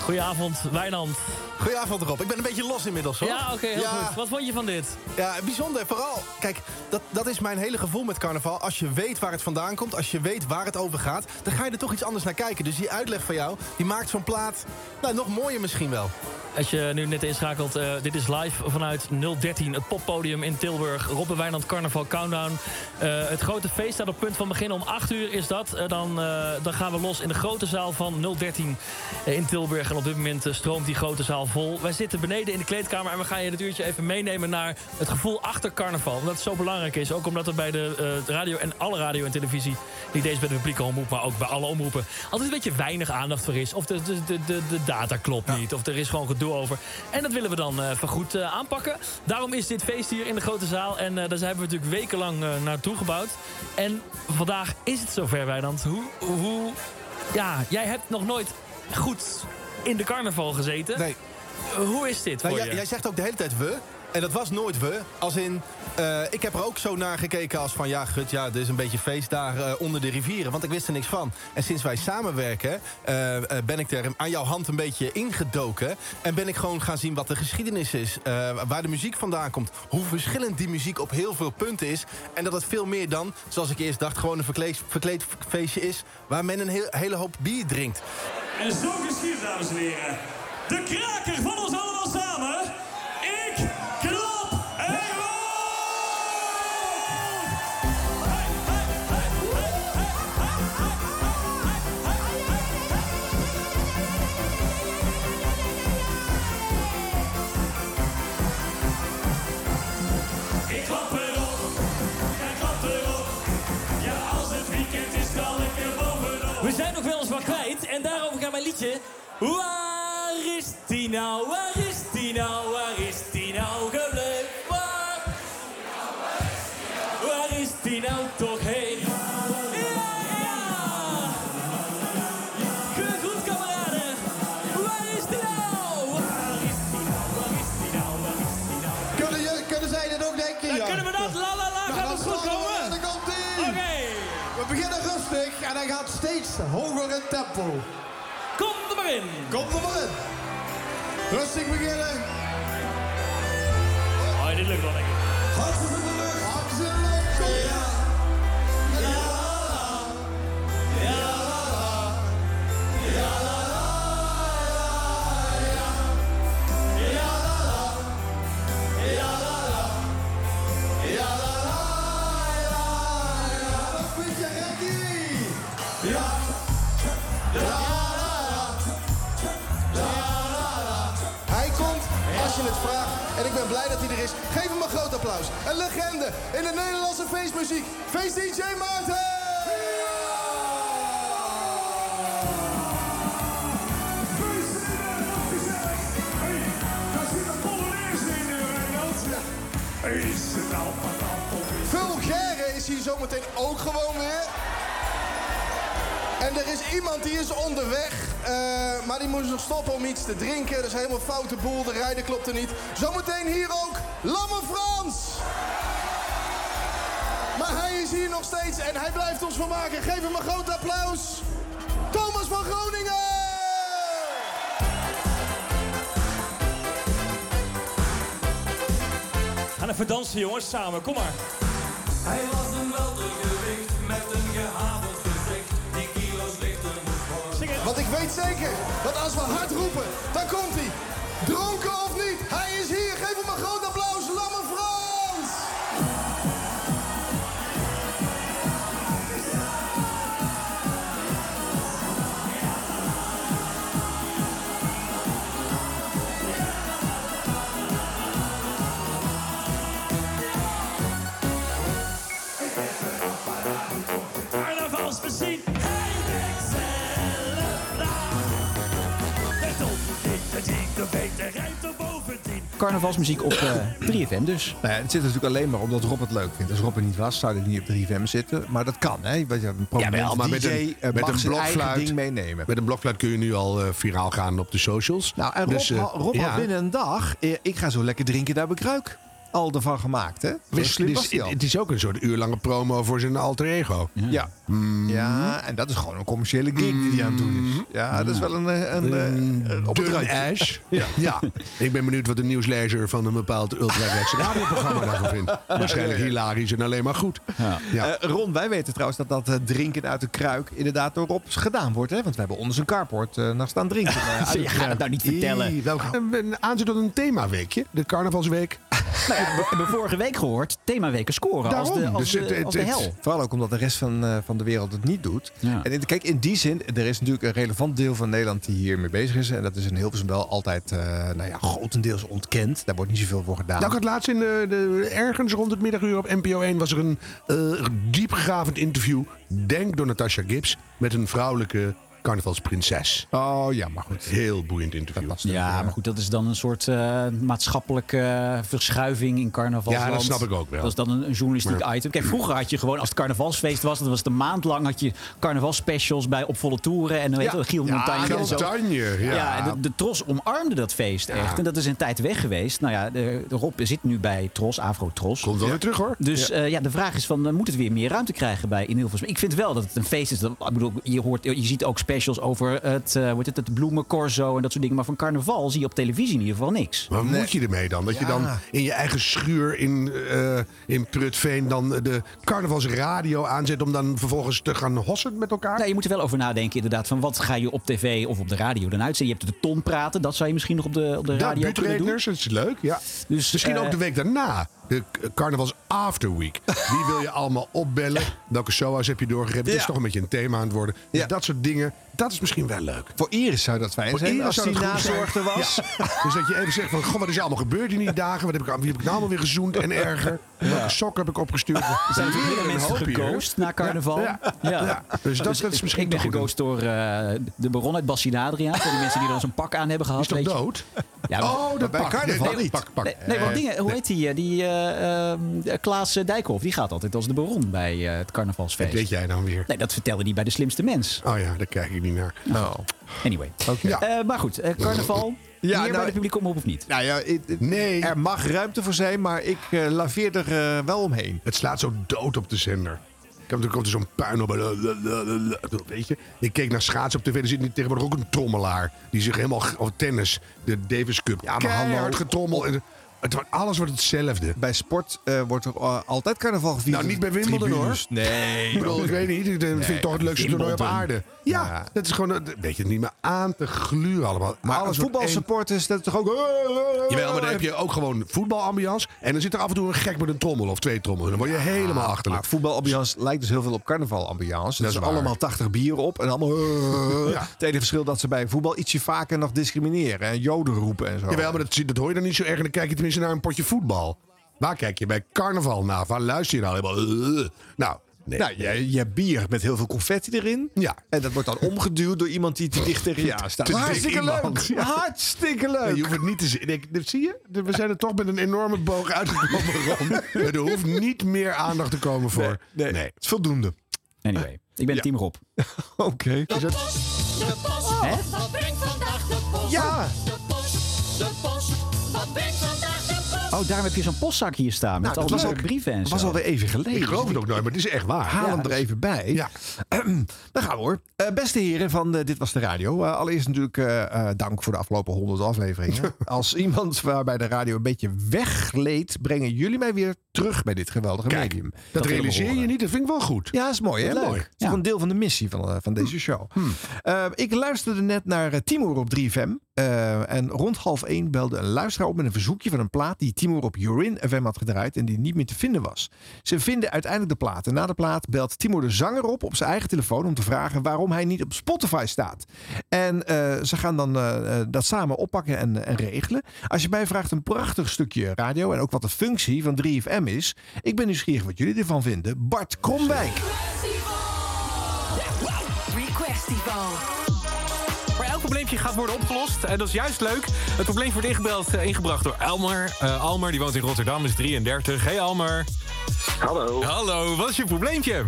S18: Goedenavond, Wijnand.
S19: Goedenavond Rob. Ik ben een beetje los inmiddels hoor.
S18: Ja, oké, heel goed. Wat vond je van dit?
S19: Ja, bijzonder. Vooral, kijk, dat, dat is mijn hele gevoel met carnaval. Als je weet waar het vandaan komt, als je weet waar het over gaat... dan ga je er toch iets anders naar kijken. Dus die uitleg van jou, die maakt zo'n plaat nou, nog mooier misschien wel.
S18: Als je nu net inschakelt, eh, dit is live vanuit 013, het poppodium in Tilburg. Rob en Wijnand Carnaval Countdown. Eh, het grote feest staat op punt van beginnen. Om 8 uur is dat. Eh, dan, eh, dan gaan we los in de grote zaal van 013 eh, in Tilburg. En op dit moment eh, stroomt die grote zaal vol. Wij zitten beneden in de kleedkamer en we gaan je dit uurtje even meenemen naar het gevoel achter carnaval. Omdat het zo belangrijk is. Ook omdat er bij de eh, radio en alle radio en televisie, niet eens bij de publieke omroep, maar ook bij alle omroepen, altijd een beetje weinig aandacht voor is. Of de, de, de, de, de data klopt niet. Of er is gewoon gedoe over. En dat willen we dan eh vergoed eh, aanpakken. Daarom is dit feest hier in de grote zaal. En eh, daar zijn we natuurlijk wekenlang eh, naartoe gebouwd. En vandaag is het zover, Wijnand. Hoe, hoe... Ja, jij hebt nog nooit goed in de carnaval gezeten.
S19: Nee.
S18: Hoe is dit
S19: Nou,
S18: voor
S19: jij,
S18: je?
S19: jij zegt ook de hele tijd we. En dat was nooit we. Als in, eh, ik heb er ook zo naar gekeken als van... ja, gut, ja, dit is een beetje feestdagen eh, onder de rivieren. Want ik wist er niks van. En sinds wij samenwerken eh, eh, ben ik er aan jouw hand een beetje ingedoken. En ben ik gewoon gaan zien wat de geschiedenis is. eh, waar de muziek vandaan komt. Hoe verschillend die muziek op heel veel punten is. En dat het veel meer dan, zoals ik eerst dacht... gewoon een verkleed, verkleed feestje is... waar men een heel- hele hoop bier drinkt.
S8: En zo geschiet, dames en heren. De kraker van ons allemaal samen. Ik klap en rook. Ik klap erop, jij klapt erop. Ja, als het weekend is, kan ik er bovenop.
S6: We zijn nog wel eens wat kwijt en daarover gaat mijn liedje. Waar is die nou? Waar is die nou? Waar is die nou gebleven? Waar, waar is die nou toch heen? Ja, ja! Gegroet, kameraden! Waar is die nou? Waar is die nou? Waar is die nou? Waar is die nou?
S20: Kunnen, je, kunnen zij dit ook denken?
S6: Dan kunnen we dat. La, la, la, gaat het goed komen?
S20: Dan komt ie.
S6: Oké.
S20: We beginnen rustig en hij gaat steeds hoger in tempo.
S6: Kom er maar in.
S20: Kom er maar in. Rustig beginnen.
S6: Oh, dit lukt wel lekker.
S20: Hartstikke in de lucht. Hartstikke in de lucht. Ja. Ja, la, la. Ja, la, la. Ja, la, la, ja. Ja, la, la. Ja, la, la. Ja, la, la, ja. Nog een beetje ready. Ja. La, la, la. La, la, la.
S19: Hij komt als je het vraagt. En ik ben blij dat hij er is. Geef hem een groot applaus.
S20: Een legende in de Nederlandse feestmuziek. Feest DJ Maarten!
S21: Vulgaire
S20: is hier zometeen ook gewoon weer. En er is iemand die is onderweg, eh, maar die moest nog stoppen om iets te drinken. Dat is helemaal een foute boel, de rijden klopt er niet. Zometeen hier ook Lamme Frans! Maar hij is hier nog steeds en hij blijft ons vermaken. Geef hem een groot applaus! Thomas van Groningen!
S6: Gaan even dansen, jongens, samen. Kom maar.
S8: Hij was een weltergewicht met een gehavend gezicht. Die kilo's lichter moet worden.
S20: Want ik weet zeker dat als we hard roepen, dan komt hij. Dronken of niet, hij is hier. Geef hem een groot applaus, Lamme Frans!
S8: Carnavalsmuziek, hij denkt zelf na. Het onverdiende ding, de beter rijdt er bovendien.
S1: Carnavalsmuziek op eh, 3FM dus.
S3: Nou ja, het zit natuurlijk alleen maar omdat Rob het leuk vindt. Als Rob er niet was, zou hij niet op 3FM zitten. Maar dat kan, hè? Weet je, een prominent
S2: Jawel,
S3: DJ eh, mag zijn eigen ding meenemen.
S2: Met een blokfluit kun je nu al eh, viraal gaan op de socials.
S3: Nou, en Rob,
S2: Dus, eh,
S3: ha- Rob had
S2: ja.
S3: binnen een dag, eh, ik ga zo lekker drinken daar bekruik. al ervan gemaakt, hè? Zo
S2: Dus,
S3: slim
S2: dus
S3: was die
S2: het,
S3: al.
S2: het is ook een soort uurlange promo voor zijn alter ego. Mm.
S3: Ja. ja, en dat is gewoon een commerciële gig die hij aan het doen is. Ja, dat is wel een... eh, een, eh, een op het
S2: Dun
S3: randje.
S2: Ash.
S3: Ja.
S2: Ja. Ik ben benieuwd wat de nieuwslezer van een bepaald ultra-rechtse radioprogramma daarvan vindt. Waarschijnlijk
S3: Ja.
S2: hilarisch en alleen maar goed.
S3: Eh, Ron, wij weten trouwens dat dat eh, drinken uit de kruik inderdaad door Rob gedaan wordt. Hè? Want we hebben onder zijn carport eh nog staan drinken. eh, uit de
S2: Je gaat
S3: kruik.
S2: het nou niet vertellen.
S3: Ih, welke-
S2: Aanzet tot een themaweekje, de carnavalsweek.
S1: Nou ja, we hebben vorige week gehoord, themaweken scoren als de,
S2: Dus
S1: als de, als de hel.
S3: Vooral ook omdat de rest van, eh, van de wereld het niet doet. En in- kijk, in die zin, er is natuurlijk een relevant deel van Nederland die hiermee bezig is. En dat is in Hilversum wel altijd, eh, nou ja, grotendeels ontkend. Daar wordt niet zoveel voor gedaan.
S2: Nou, ik had laatst in de, de- ergens rond het middaguur op NPO 1 was er een eh diepgravend interview, denk door Natasha Gibbs, met een vrouwelijke carnavalsprinses.
S3: Oh ja, maar goed.
S2: Heel boeiend interview.
S1: Ja, maar goed, dat is dan een soort eh, maatschappelijke eh, verschuiving in carnaval.
S2: Ja, dat snap ik ook wel.
S1: Dat is dan een, een journalistiek
S2: Maar-
S1: item. Kijk, vroeger had je gewoon, als het carnavalsfeest was, dat was de maand lang, had je carnavalspecials bij Op Volle Toeren en dan weet
S2: Ja.
S1: je, Giel
S2: Ja,
S1: Montagne.
S2: Giel
S1: en zo.
S2: Montagne, ja.
S1: en de, de Tros omarmde dat feest echt. En dat is een tijd weg geweest. Nou ja, de, de Rob zit nu bij Tros, Afro Tros. Komt
S2: wel weer terug, hoor.
S1: Dus
S2: Ja.
S1: eh, ja, de vraag is van, eh, moet het weer meer ruimte krijgen bij in Hilversum? Ik vind wel dat het een feest is. Dat, ik bedoel, je, hoort, je ziet ook specials over het, eh wordt het, het bloemencorso en dat soort dingen. Maar van carnaval zie je op televisie in ieder geval niks.
S2: Maar wat moet je ermee dan? Dat je
S1: Ja.
S2: dan in je eigen schuur in, eh, in Prutveen dan de carnavalsradio aanzet om dan vervolgens te gaan hossen met elkaar?
S1: Nou, je moet er wel over nadenken inderdaad. Van wat ga je op tv of op de radio dan uitzenden? Je hebt de ton praten. Dat zou je misschien nog op de, op de
S2: Ja,
S1: radio kunnen doen.
S2: buurtredeners, dat is leuk. Ja.
S1: Dus,
S2: Misschien
S1: eh,
S2: ook de week daarna. De k- carnavals afterweek. Wie wil je allemaal opbellen? Welke SOA's heb je doorgegeven? Het is toch een beetje een thema aan het worden. Dus dat soort dingen, dat is misschien wel leuk.
S3: Voor Iris zou dat fijn
S2: Voor
S3: zijn
S2: Iris
S3: als
S2: zou
S3: die
S2: dat goed zijn.
S3: nazorg er was.
S2: Ja. Dus dat je even zegt van, goh, wat is er allemaal gebeurd in die dagen? Wat heb ik, wie heb ik nou allemaal weer gezoend en erger? Welke sok heb ik opgestuurd? Er
S1: Zijn er
S2: weer
S1: meer
S2: een
S1: mensen
S2: hoop hier.
S1: gegoost na carnaval?
S2: Ja, ja. Ja. Dus dat, dat is misschien
S1: Ik ben
S2: toch goed.
S1: gegoost door eh, de baron uit Bassinadria. Voor die mensen die dan zo'n pak aan hebben gehad.
S2: Is toch
S1: weet je.
S2: dood?
S1: Ja,
S2: Oh, dat
S1: bij
S2: pak.
S1: carnaval
S2: Nee, nee,
S1: niet.
S2: pak, pak.
S1: Nee, nee, want
S2: Eh,
S1: dingen, hoe heet die? eh, die eh, eh, Klaas eh, Dijkhoff, die gaat altijd als de baron bij eh, het carnavalsfeest.
S2: Dat weet jij dan weer.
S1: Nee, dat vertelde hij bij de slimste mens. Nou.
S2: Oh ja, daar kijk ik niet naar. Oh.
S1: Anyway. Eh, maar goed, eh, carnaval. Ja,
S3: Ja,
S1: hier bij
S3: nou,
S1: de publieke omroep of niet?
S3: Nou ja, it- it- er mag ruimte voor zijn, maar ik eh, laveer er eh, wel omheen.
S2: Het slaat zo dood op de zender. Ik heb, er komt er zo'n puin op. en, eh, eh, eh, eh, Weet je? Ik keek naar schaatsen op tv. Er zit nu tegenwoordig ook een trommelaar. Die zich helemaal... ge- Of tennis. De Davis Cup. Ja,
S3: maar hallo.
S2: Keihard getrommel. En eh, het, wordt- alles wordt hetzelfde.
S3: Bij sport eh, wordt er eh, altijd carnaval gevierd.
S2: Nou, niet bij Wimbledon,
S3: Tribunes.
S2: hoor.
S3: Nee.
S2: Ik bedoel, ik weet niet. Ik eh, vind
S3: Nee,
S2: het toch het leukste toernooi op
S3: Wimbledon.
S2: aarde. Ja, dat is gewoon... eh, Weet je, niet meer aan te gluren allemaal.
S3: Maar
S2: Alles
S3: als
S2: wordt één-
S3: voetbalsupporters, dat is toch ook... eh,
S2: Jawel, maar dan heb je ook gewoon voetbalambiance. En dan zit er af en toe een gek met een trommel of twee trommels. Dan word je helemaal achterlijk.
S3: voetbalambiance lijkt dus heel veel op carnavalambiance. Dat
S2: Dat
S3: is
S2: is waar.
S3: allemaal 80 bier op en allemaal... eh,
S2: Ja.
S3: Het enige verschil dat ze bij voetbal ietsje vaker nog discrimineren. En joden roepen en zo.
S2: Jawel, maar dat, zie- dat hoor je dan niet zo erg. En dan kijk je tenminste naar een potje voetbal. Waar kijk je bij carnaval naar? Waar luister je nou helemaal? eh, Nou, nee.
S3: nou, je, je hebt bier met heel veel confetti erin.
S2: Ja.
S3: En dat wordt dan omgeduwd door iemand die te dicht tegen je aan staat.
S2: Te dik
S3: Hartstikke
S2: iemand,
S3: leuk!
S2: ja.
S3: Hartstikke
S2: Nee,
S3: leuk!
S2: je hoeft het niet te zien. Ik- dit- Zie je? We zijn er toch met een enorme boog uitgekomen. Ron. Er hoeft niet meer aandacht te komen voor.
S3: Nee, het is voldoende.
S1: Anyway, ik ben team Rob.
S3: Oké.
S2: Is het-
S8: De post, wat brengt vandaag de post?
S3: Ja.
S8: De post, de post, wat brengt vandaag de post?
S1: Oh, daarom heb je zo'n postzak hier staan. Met
S3: Nou, dat
S1: al
S3: was
S1: die
S3: ook-
S1: brieven en
S3: dat
S1: zo.
S3: was alweer even geleden.
S2: Ik geloof het ook nooit, maar het is echt waar.
S3: Haal
S2: Ja,
S3: hem
S2: dat
S3: er
S2: is-
S3: even bij.
S2: Ja.
S3: Daar gaan we hoor. Eh, beste heren van eh, Dit Was De Radio. Eh, allereerst natuurlijk eh, eh, dank voor de afgelopen 100 afleveringen. Als iemand waarbij de radio een beetje weggleed, brengen jullie mij weer terug bij dit geweldige medium.
S2: Dat realiseer je niet, dat vind ik wel goed.
S3: Ja, dat is mooi hè?
S2: Dat is
S3: Leuk.
S2: mooi.
S3: Dat is toch een deel van de missie van, eh, van deze show. Eh, ik luisterde net naar eh, Timur op 3FM. eh, en rond half 1 belde een luisteraar op met een verzoekje van een plaat die Timur op Urin FM had gedraaid en die niet meer te vinden was. Ze vinden uiteindelijk de plaat. En na de plaat belt Timur de zanger op op zijn eigen telefoon om te vragen waarom hij niet op Spotify staat. En eh, ze gaan dan eh, eh, dat samen oppakken en, en regelen. Als je mij vraagt een prachtig stukje radio en ook wat de functie van 3FM is. Ik ben nieuwsgierig wat jullie ervan vinden. Bart Kromwijk.
S11: Requestival.
S22: Waar elk probleempje gaat worden opgelost. En dat is juist leuk. Het probleem wordt ingebeld, eh, ingebracht door Elmer. Eh, Almer, die woont in Rotterdam, is 33. Hey Almer. Hallo. Hallo, wat is je probleempje?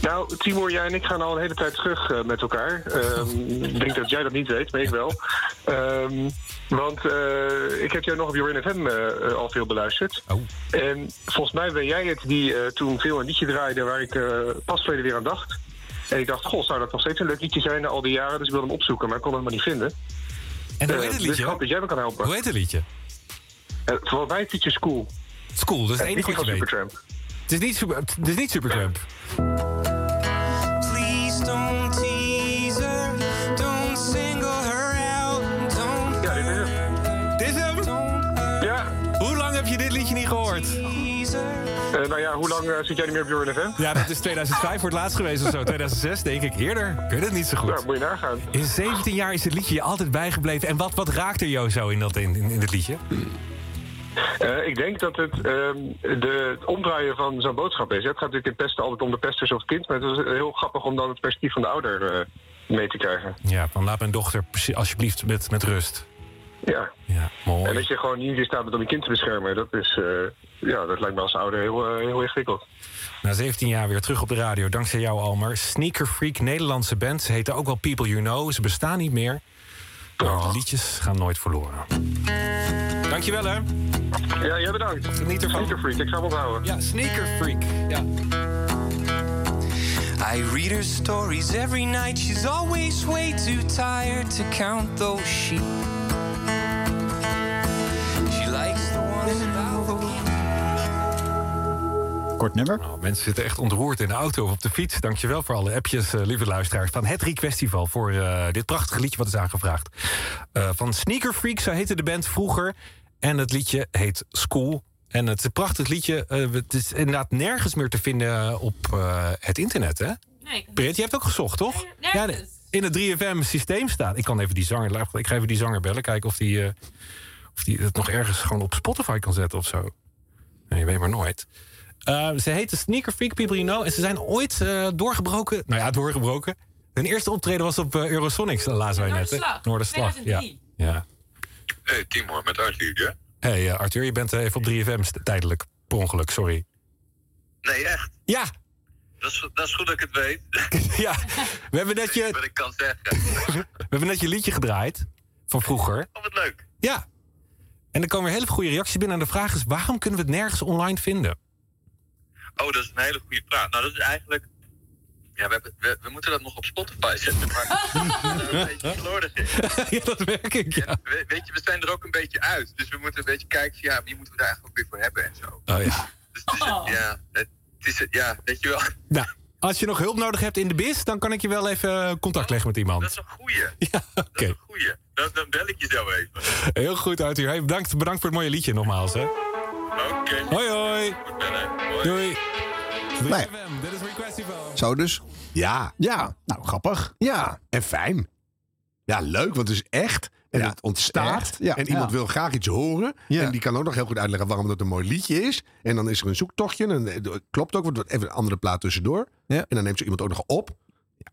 S23: Nou, Timor, jij en ik gaan al een hele tijd terug eh, met elkaar. Ehm, Ik denk dat jij dat niet weet, maar ik wel. Eh, Ehm, want eh, ik heb jou nog op Jorin FM eh, eh, al veel beluisterd.
S22: Oh.
S23: En volgens mij ben jij het die eh, toen veel een liedje draaide waar ik eh, pas verleden weer aan dacht. En ik dacht, goh, zou dat nog steeds een leuk liedje zijn na al die jaren? Dus ik wilde hem opzoeken, maar ik kon hem maar niet vinden.
S22: En hoe
S23: Eh,
S22: heet het
S23: Dus
S22: liedje?
S23: ik hoop dat jij me kan helpen.
S22: Hoe heet het liedje?
S23: Eh, volgens mij is het liedje School.
S22: School, dat is het
S23: En
S22: enige
S23: niet
S22: wat
S23: van
S22: ik weet.
S23: Supertramp.
S22: Het is niet, super, het is niet Supertramp.
S8: Please don't tease her. Don't single her out. Don't
S23: ja, dit is hem.
S22: Dit is hem?
S23: Ja.
S22: Hoe lang heb je dit liedje niet gehoord?
S23: Eh, nou ja, hoe lang eh, zit jij niet meer op Jorin FM?
S22: Ja, dat is 2005 voor het laatst geweest of zo. 2006 denk ik eerder. Ik weet het niet zo goed.
S23: Ja, moet je nagaan.
S22: In 17 jaar is het liedje je altijd bijgebleven. En wat, wat raakte jou zo in dat, in, in, in dit liedje?
S23: Hmm. Eh, ik denk dat het ehm, de, het omdraaien van zo'n boodschap is. Het gaat natuurlijk in pesten altijd om de pesters of het kind. Maar het is heel grappig om dan het perspectief van de ouder eh, mee te krijgen.
S22: Ja, van laat mijn dochter precies- alsjeblieft met, met rust.
S23: Ja. En dat je gewoon niet in staat bent om je kind te beschermen. Dat, is, eh, ja, dat lijkt me als ouder heel, eh, heel ingewikkeld.
S22: Na 17 jaar weer terug op de radio, dankzij jou Almer. Sneaker Freak, Nederlandse band. Ze heten ook wel People You Know. Ze bestaan niet meer. Maar de liedjes gaan nooit verloren. Dankjewel hè.
S23: Ja, jij bedankt.
S22: Geniet ervan.
S23: Sneaker freak, ik zou hem onthouden.
S22: Ja, sneaker freak. Ja.
S8: I read her stories every night. She's always way too tired to count those sheep. She likes the ones about the
S22: Kort nummer. Nou, mensen zitten echt ontroerd in de auto of op de fiets. Dankjewel voor alle appjes, eh, lieve luisteraars. Van het Riek Festival voor eh, dit prachtige liedje wat is aangevraagd. Eh, van Sneaker Freak, zo heette de band vroeger. En het liedje heet School. En het is een prachtig liedje. Eh, het is inderdaad nergens meer te vinden op eh, het internet, hè?
S8: Nee.
S22: Britt, je hebt ook gezocht, toch? Ja, in het 3FM-systeem staat. Ik kan even die zanger... Ik ga even die zanger bellen, kijken of die, eh, of die het nog ergens gewoon op Spotify kan zetten of zo. Nee, je weet maar nooit. Eh, ze heten Sneaker Freak People You Know. En ze zijn ooit eh, doorgebroken. Nou ja, doorgebroken. Hun eerste optreden was op eh, Eurosonics, eh, lazen wij net. hè?
S10: Noorderslag,
S22: Noorderslag, ja.
S10: 2003.
S22: ja.
S10: Hey, Timor, met Arthur, hè?
S22: hey, eh, Arthur, je bent eh, even op 3FM st- tijdelijk. Per ongeluk, sorry.
S10: Nee, echt.
S22: Ja,
S10: Dat is, dat is goed dat ik het weet.
S22: ja. We hebben net je...
S10: Wat ik kan zeggen.
S22: We hebben net je liedje gedraaid van vroeger.
S10: Oh, wat leuk.
S22: Ja. En er komen weer hele goede reacties binnen. En de vraag is, waarom kunnen we het nergens online vinden?
S10: Oh, dat is een hele goede praat. Nou, dat is eigenlijk... Ja, we, hebben, we, we moeten dat nog op Spotify zetten. Maar dat is een beetje slordig is.
S22: ja, dat merk ik, ja.
S10: We- weet je, we zijn er ook een beetje uit. Dus we moeten een beetje kijken van... Ja, wie moeten we daar eigenlijk ook weer voor hebben en zo.
S22: Oh ja.
S10: Dus het is, ja, het is... Ja, weet je wel.
S22: Nou, als je nog hulp nodig hebt in de biz... dan kan ik je wel even eh, contact leggen met iemand. Dat is
S10: een goeie.
S22: Ja, oké.
S10: Goeie. Dan, dan bel ik je zo even.
S22: Heel goed, Arthur. Hey, bedankt, bedankt voor het mooie liedje nogmaals, hè.
S10: Oké.
S6: Oh,
S22: Hoi, hoi.
S10: Goed bellen. Hoi.
S22: Doei.
S3: Nee.
S22: Dit is Requestival.
S3: Zo dus.
S2: Ja.
S3: Ja.
S2: Nou, grappig.
S3: Ja.
S2: En fijn. Ja, leuk, want het is echt. En het ontstaat.
S3: echt, ja.
S2: En iemand
S3: Ja.
S2: wil graag iets horen. En die kan ook nog heel goed uitleggen waarom dat een mooi liedje is. En dan is er een zoektochtje. En eh, dat klopt ook, want er wordt even een andere plaat tussendoor. En dan neemt zo iemand ook nog op. Ja,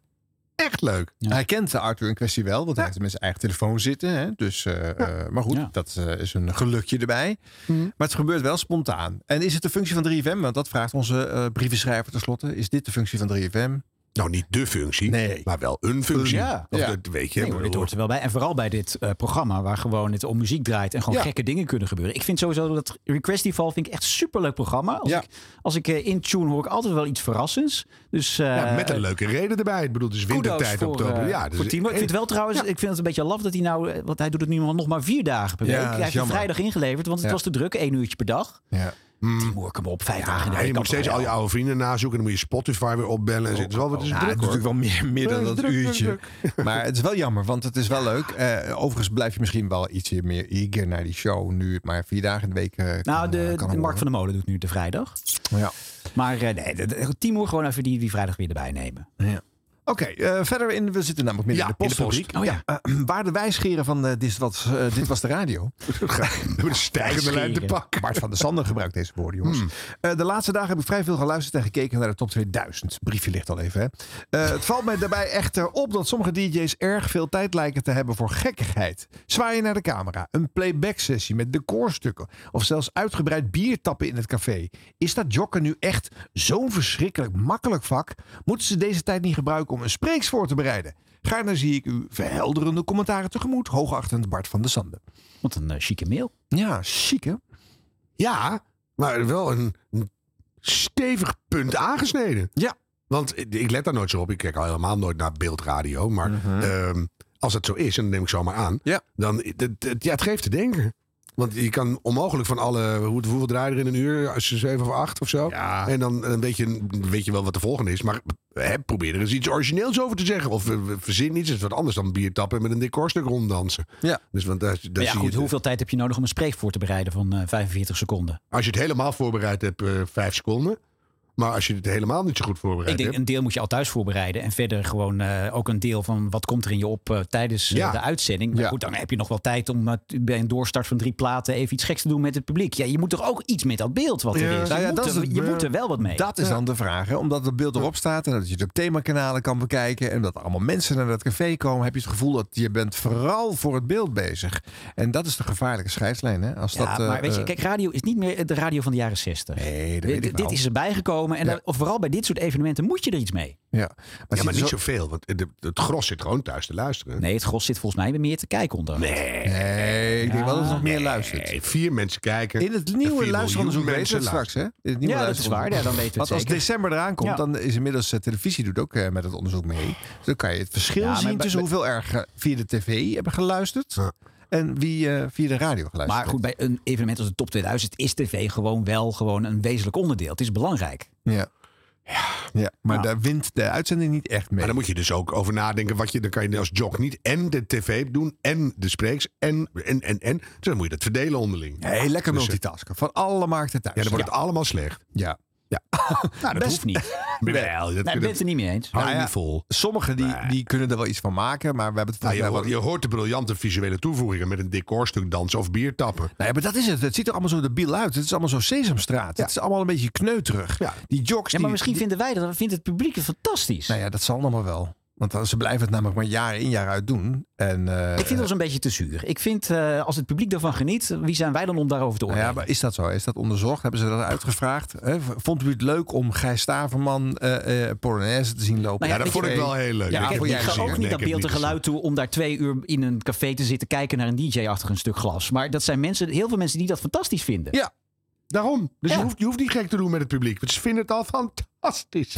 S2: Echt leuk.
S3: Hij kent de Arthur in kwestie wel, want hij heeft hem in zijn eigen telefoon zitten. Hè? Dus, eh, eh, maar goed, dat eh, is een gelukje erbij.
S2: Mhm.
S3: Maar het gebeurt wel spontaan. En is het de functie van 3FM? Want dat vraagt onze eh brievenschrijver tenslotte. Is dit de functie van 3FM?
S2: Nou, niet de functie, maar wel een
S1: functie.
S3: Ja,
S1: Of
S3: ja.
S1: dat
S2: weet
S1: Nee, hoor, dit hoort er wel bij. En vooral bij dit eh, programma waar gewoon het om muziek draait en gewoon
S3: Ja.
S1: gekke dingen kunnen gebeuren. Ik vind sowieso dat Requestival vind ik echt superleuk programma. Als ik, als ik eh, in tune hoor ik altijd wel iets verrassends. Dus, eh,
S2: Ja, met een leuke reden erbij. Ik bedoel, het is
S1: kudos
S2: wintertijd,
S1: voor,
S2: oktober.
S1: eh,
S2: Ja, dus
S1: voor Timo. Ik
S2: en-
S1: vind het wel trouwens, ik vind het een beetje laf dat hij nou, eh, want hij doet het nu maar nog maar vier dagen per
S2: Ja,
S1: week.
S2: dat
S1: hij
S2: is
S1: heeft een
S2: jammer.
S1: vrijdag ingeleverd, want het
S2: Ja.
S1: was te druk, één uurtje per dag.
S3: Ja.
S1: Timo, kom op, vijf dagen in de
S2: Mm. en
S1: week.
S2: je moet steeds al je oude vrienden nazoeken. En dan moet je Spotify weer
S3: Oh.
S2: opbellen. En zit wel wat Oh, is
S3: Ja,
S2: druk,
S3: het is
S2: hoor.
S3: natuurlijk wel meer, meer dan
S2: Ja, het
S3: dat
S2: is druk, druk,
S3: uurtje.
S2: druk.
S3: Maar het is wel jammer, want het is wel leuk. Eh, overigens blijf je misschien wel iets meer eager naar die show nu het maar vier dagen in de week eh, kan,
S1: Nou,
S3: eh,
S1: de,
S3: kan
S1: de
S3: horen.
S1: Mark van der Molen doet nu de vrijdag.
S3: Ja.
S1: Maar eh, nee, de- de- Timo gewoon even die, die vrijdag weer erbij nemen.
S3: Ja. Oké, eh, verder in, we zitten namelijk midden
S1: Ja,
S3: in de
S1: in de
S3: postfabriek.
S1: post. Oh ja.
S3: Eh, waar de wijsgeren van eh, dit, was, eh, dit was de radio.
S2: Een stijgende lijn te pakken.
S3: Bart van der Sander gebruikt deze woorden, jongens.
S1: Hmm.
S3: Eh, de laatste dagen heb ik vrij veel geluisterd en gekeken naar de top 2000. Briefje ligt al even, hè. Eh, het valt mij daarbij echter op dat sommige DJ's erg veel tijd lijken te hebben voor gekkigheid. Zwaaien naar de camera, een playback-sessie met decorstukken of zelfs uitgebreid biertappen in het café. Is dat joggen nu echt zo'n verschrikkelijk makkelijk vak? Moeten ze deze tijd niet gebruiken om een spreeks voor te bereiden? Gaarne zie ik u verhelderende commentaren tegemoet. Hoogachtend Bart van de Sande.
S1: Wat een eh, chique mail.
S3: Ja, chique.
S2: Ja, maar wel een een stevig punt aangesneden.
S3: Ja.
S2: Want ik- ik let daar nooit zo op. Ik kijk al helemaal nooit naar beeldradio. Maar ehm, als het zo is, en dat neem ik zomaar aan.
S3: Mhm. Ja.
S2: Dan, het, het- ja, het geeft te denken. Want je kan onmogelijk van alle... Hoe, hoeveel draaien er in een uur? Als je zeven of acht of zo. En dan een beetje, weet je wel wat de volgende is. Maar hè, probeer er eens iets origineels over te zeggen. Of eh, verzin iets. Het is wat anders dan bier tappen en met een decorstuk ronddansen.
S3: Ja.
S2: Dus, want daar, daar
S1: Maar ja,
S2: zie
S1: goed,
S2: je het,
S1: hoeveel tijd heb je nodig om een spreek voor te bereiden van eh, 45 seconden?
S2: Als je het helemaal voorbereid hebt, eh, vijf seconden. Maar als je het helemaal niet zo goed voorbereid
S1: Ik denk,
S2: hebt...
S1: een deel moet je al thuis voorbereiden. En verder gewoon eh, ook een deel van wat komt er in je op eh, tijdens eh,
S2: Ja.
S1: de uitzending. Maar goed, dan heb je nog wel tijd om eh, bij een doorstart van drie platen even iets geks te doen met het publiek. Ja, je moet toch ook iets met dat beeld wat er
S3: Ja.
S1: is.
S3: Nou
S1: je
S3: ja,
S1: moet,
S3: dat is
S1: er,
S3: het,
S1: je
S3: eh,
S1: moet er wel wat mee.
S3: Dat is
S1: Ja.
S3: dan de vraag. Hè? Omdat het beeld erop staat en dat je het op themakanalen kan bekijken. En dat er allemaal mensen naar dat café komen. Heb je het gevoel dat je bent vooral voor het beeld bezig. En dat is de gevaarlijke scheidslijn. Hè? Als
S1: Ja,
S3: dat, eh,
S1: maar weet je,
S3: eh,
S1: kijk, radio is niet meer de radio van de jaren 60.
S3: Nee, dat weet
S1: Dit-
S3: ik
S1: Dit
S3: wel.
S1: is erbij gekomen. En daar- of vooral bij dit soort evenementen moet je er iets mee.
S3: Ja,
S2: maar,
S1: zit
S2: maar
S1: er
S2: niet
S1: zo-
S2: zoveel. Want het, het gros zit gewoon thuis te luisteren.
S1: Nee, het gros zit volgens mij meer te kijken onder.
S2: Nee.
S3: Nee, ik denk wel dat het nog meer
S2: luistert. vier mensen kijken.
S3: In het
S2: Vier
S3: nieuwe
S2: miljoen
S3: luisteronderzoek
S2: mensen
S3: weten we het straks, hè?
S2: luisteren.
S3: In het nieuwe
S2: Ja, dat is waar.
S3: luisteronderzoek.
S2: Ja, dan weten we het
S3: Want als
S2: zeker.
S3: december eraan komt,
S2: Ja.
S3: dan is inmiddels eh, televisie doet ook eh, met het onderzoek mee. Dus dan kan je het verschil
S2: Ja, maar
S3: zien
S2: bij-
S3: tussen
S2: bij-
S3: hoeveel er ge- via de tv hebben geluisterd en wie eh, via de radio geluisterd
S1: Maar goed, bij een evenement als de Top 2000 is tv gewoon wel gewoon een wezenlijk onderdeel. Het is belangrijk.
S3: Ja. Ja, maar daar wint de uitzending niet echt mee.
S2: nou. Maar dan moet je dus ook over nadenken. Wat je, dan kan je als jog niet en de tv doen. En de spreeks. En, en, en, en. Dus dan moet je dat verdelen onderling.
S3: Nee, lekker
S2: Dus, eh,
S3: multitasken. Van alle markten thuis.
S2: Ja, dan wordt het allemaal slecht.
S3: Ja. ja.
S1: Nou, dat hoeft niet.
S2: Nee,
S1: Nee, ik ben het er niet mee eens.
S2: Hou
S3: Nou
S2: je
S3: ja,
S2: niet vol.
S3: Sommigen die, die kunnen er wel iets van maken, maar we hebben het
S2: Nou, je,
S3: volgens mij
S2: hoort, je hoort de briljante visuele toevoegingen met een decorstuk dansen of bier tappen.
S3: Nee, maar dat is het. Het ziet er allemaal zo debiel uit. Het is allemaal zo Sesamstraat. Het is allemaal een beetje kneuterig. Die jocks...
S1: Ja, maar
S3: die-
S1: misschien
S3: die-
S1: vinden wij dat, vindt het publiek het fantastisch.
S3: Nou ja, dat zal allemaal wel. Want dan- ze blijven het namelijk maar jaar in jaar uit doen. En, eh,
S1: Ik vind ons een beetje te zuur. Ik vind, eh, als het publiek daarvan geniet, wie zijn wij dan om daarover te
S3: nou
S1: oordelen?
S3: ja, maar is dat zo? Is dat onderzocht? Hebben ze dat uitgevraagd? Hè? V- Vond u het leuk om Gijs Staverman eh eh Polonaise te zien lopen?
S1: Nou ik- Ja, ik, ik ga ook niet dat beeld en geluid toe om daar twee uur in een café te zitten kijken naar een DJ-achtig een stuk glas. Maar dat zijn mensen, heel veel mensen die dat fantastisch vinden.
S2: Ja, daarom. Dus Je, hoeft, je hoeft niet gek te doen met het publiek. Want ze vinden het al fantastisch.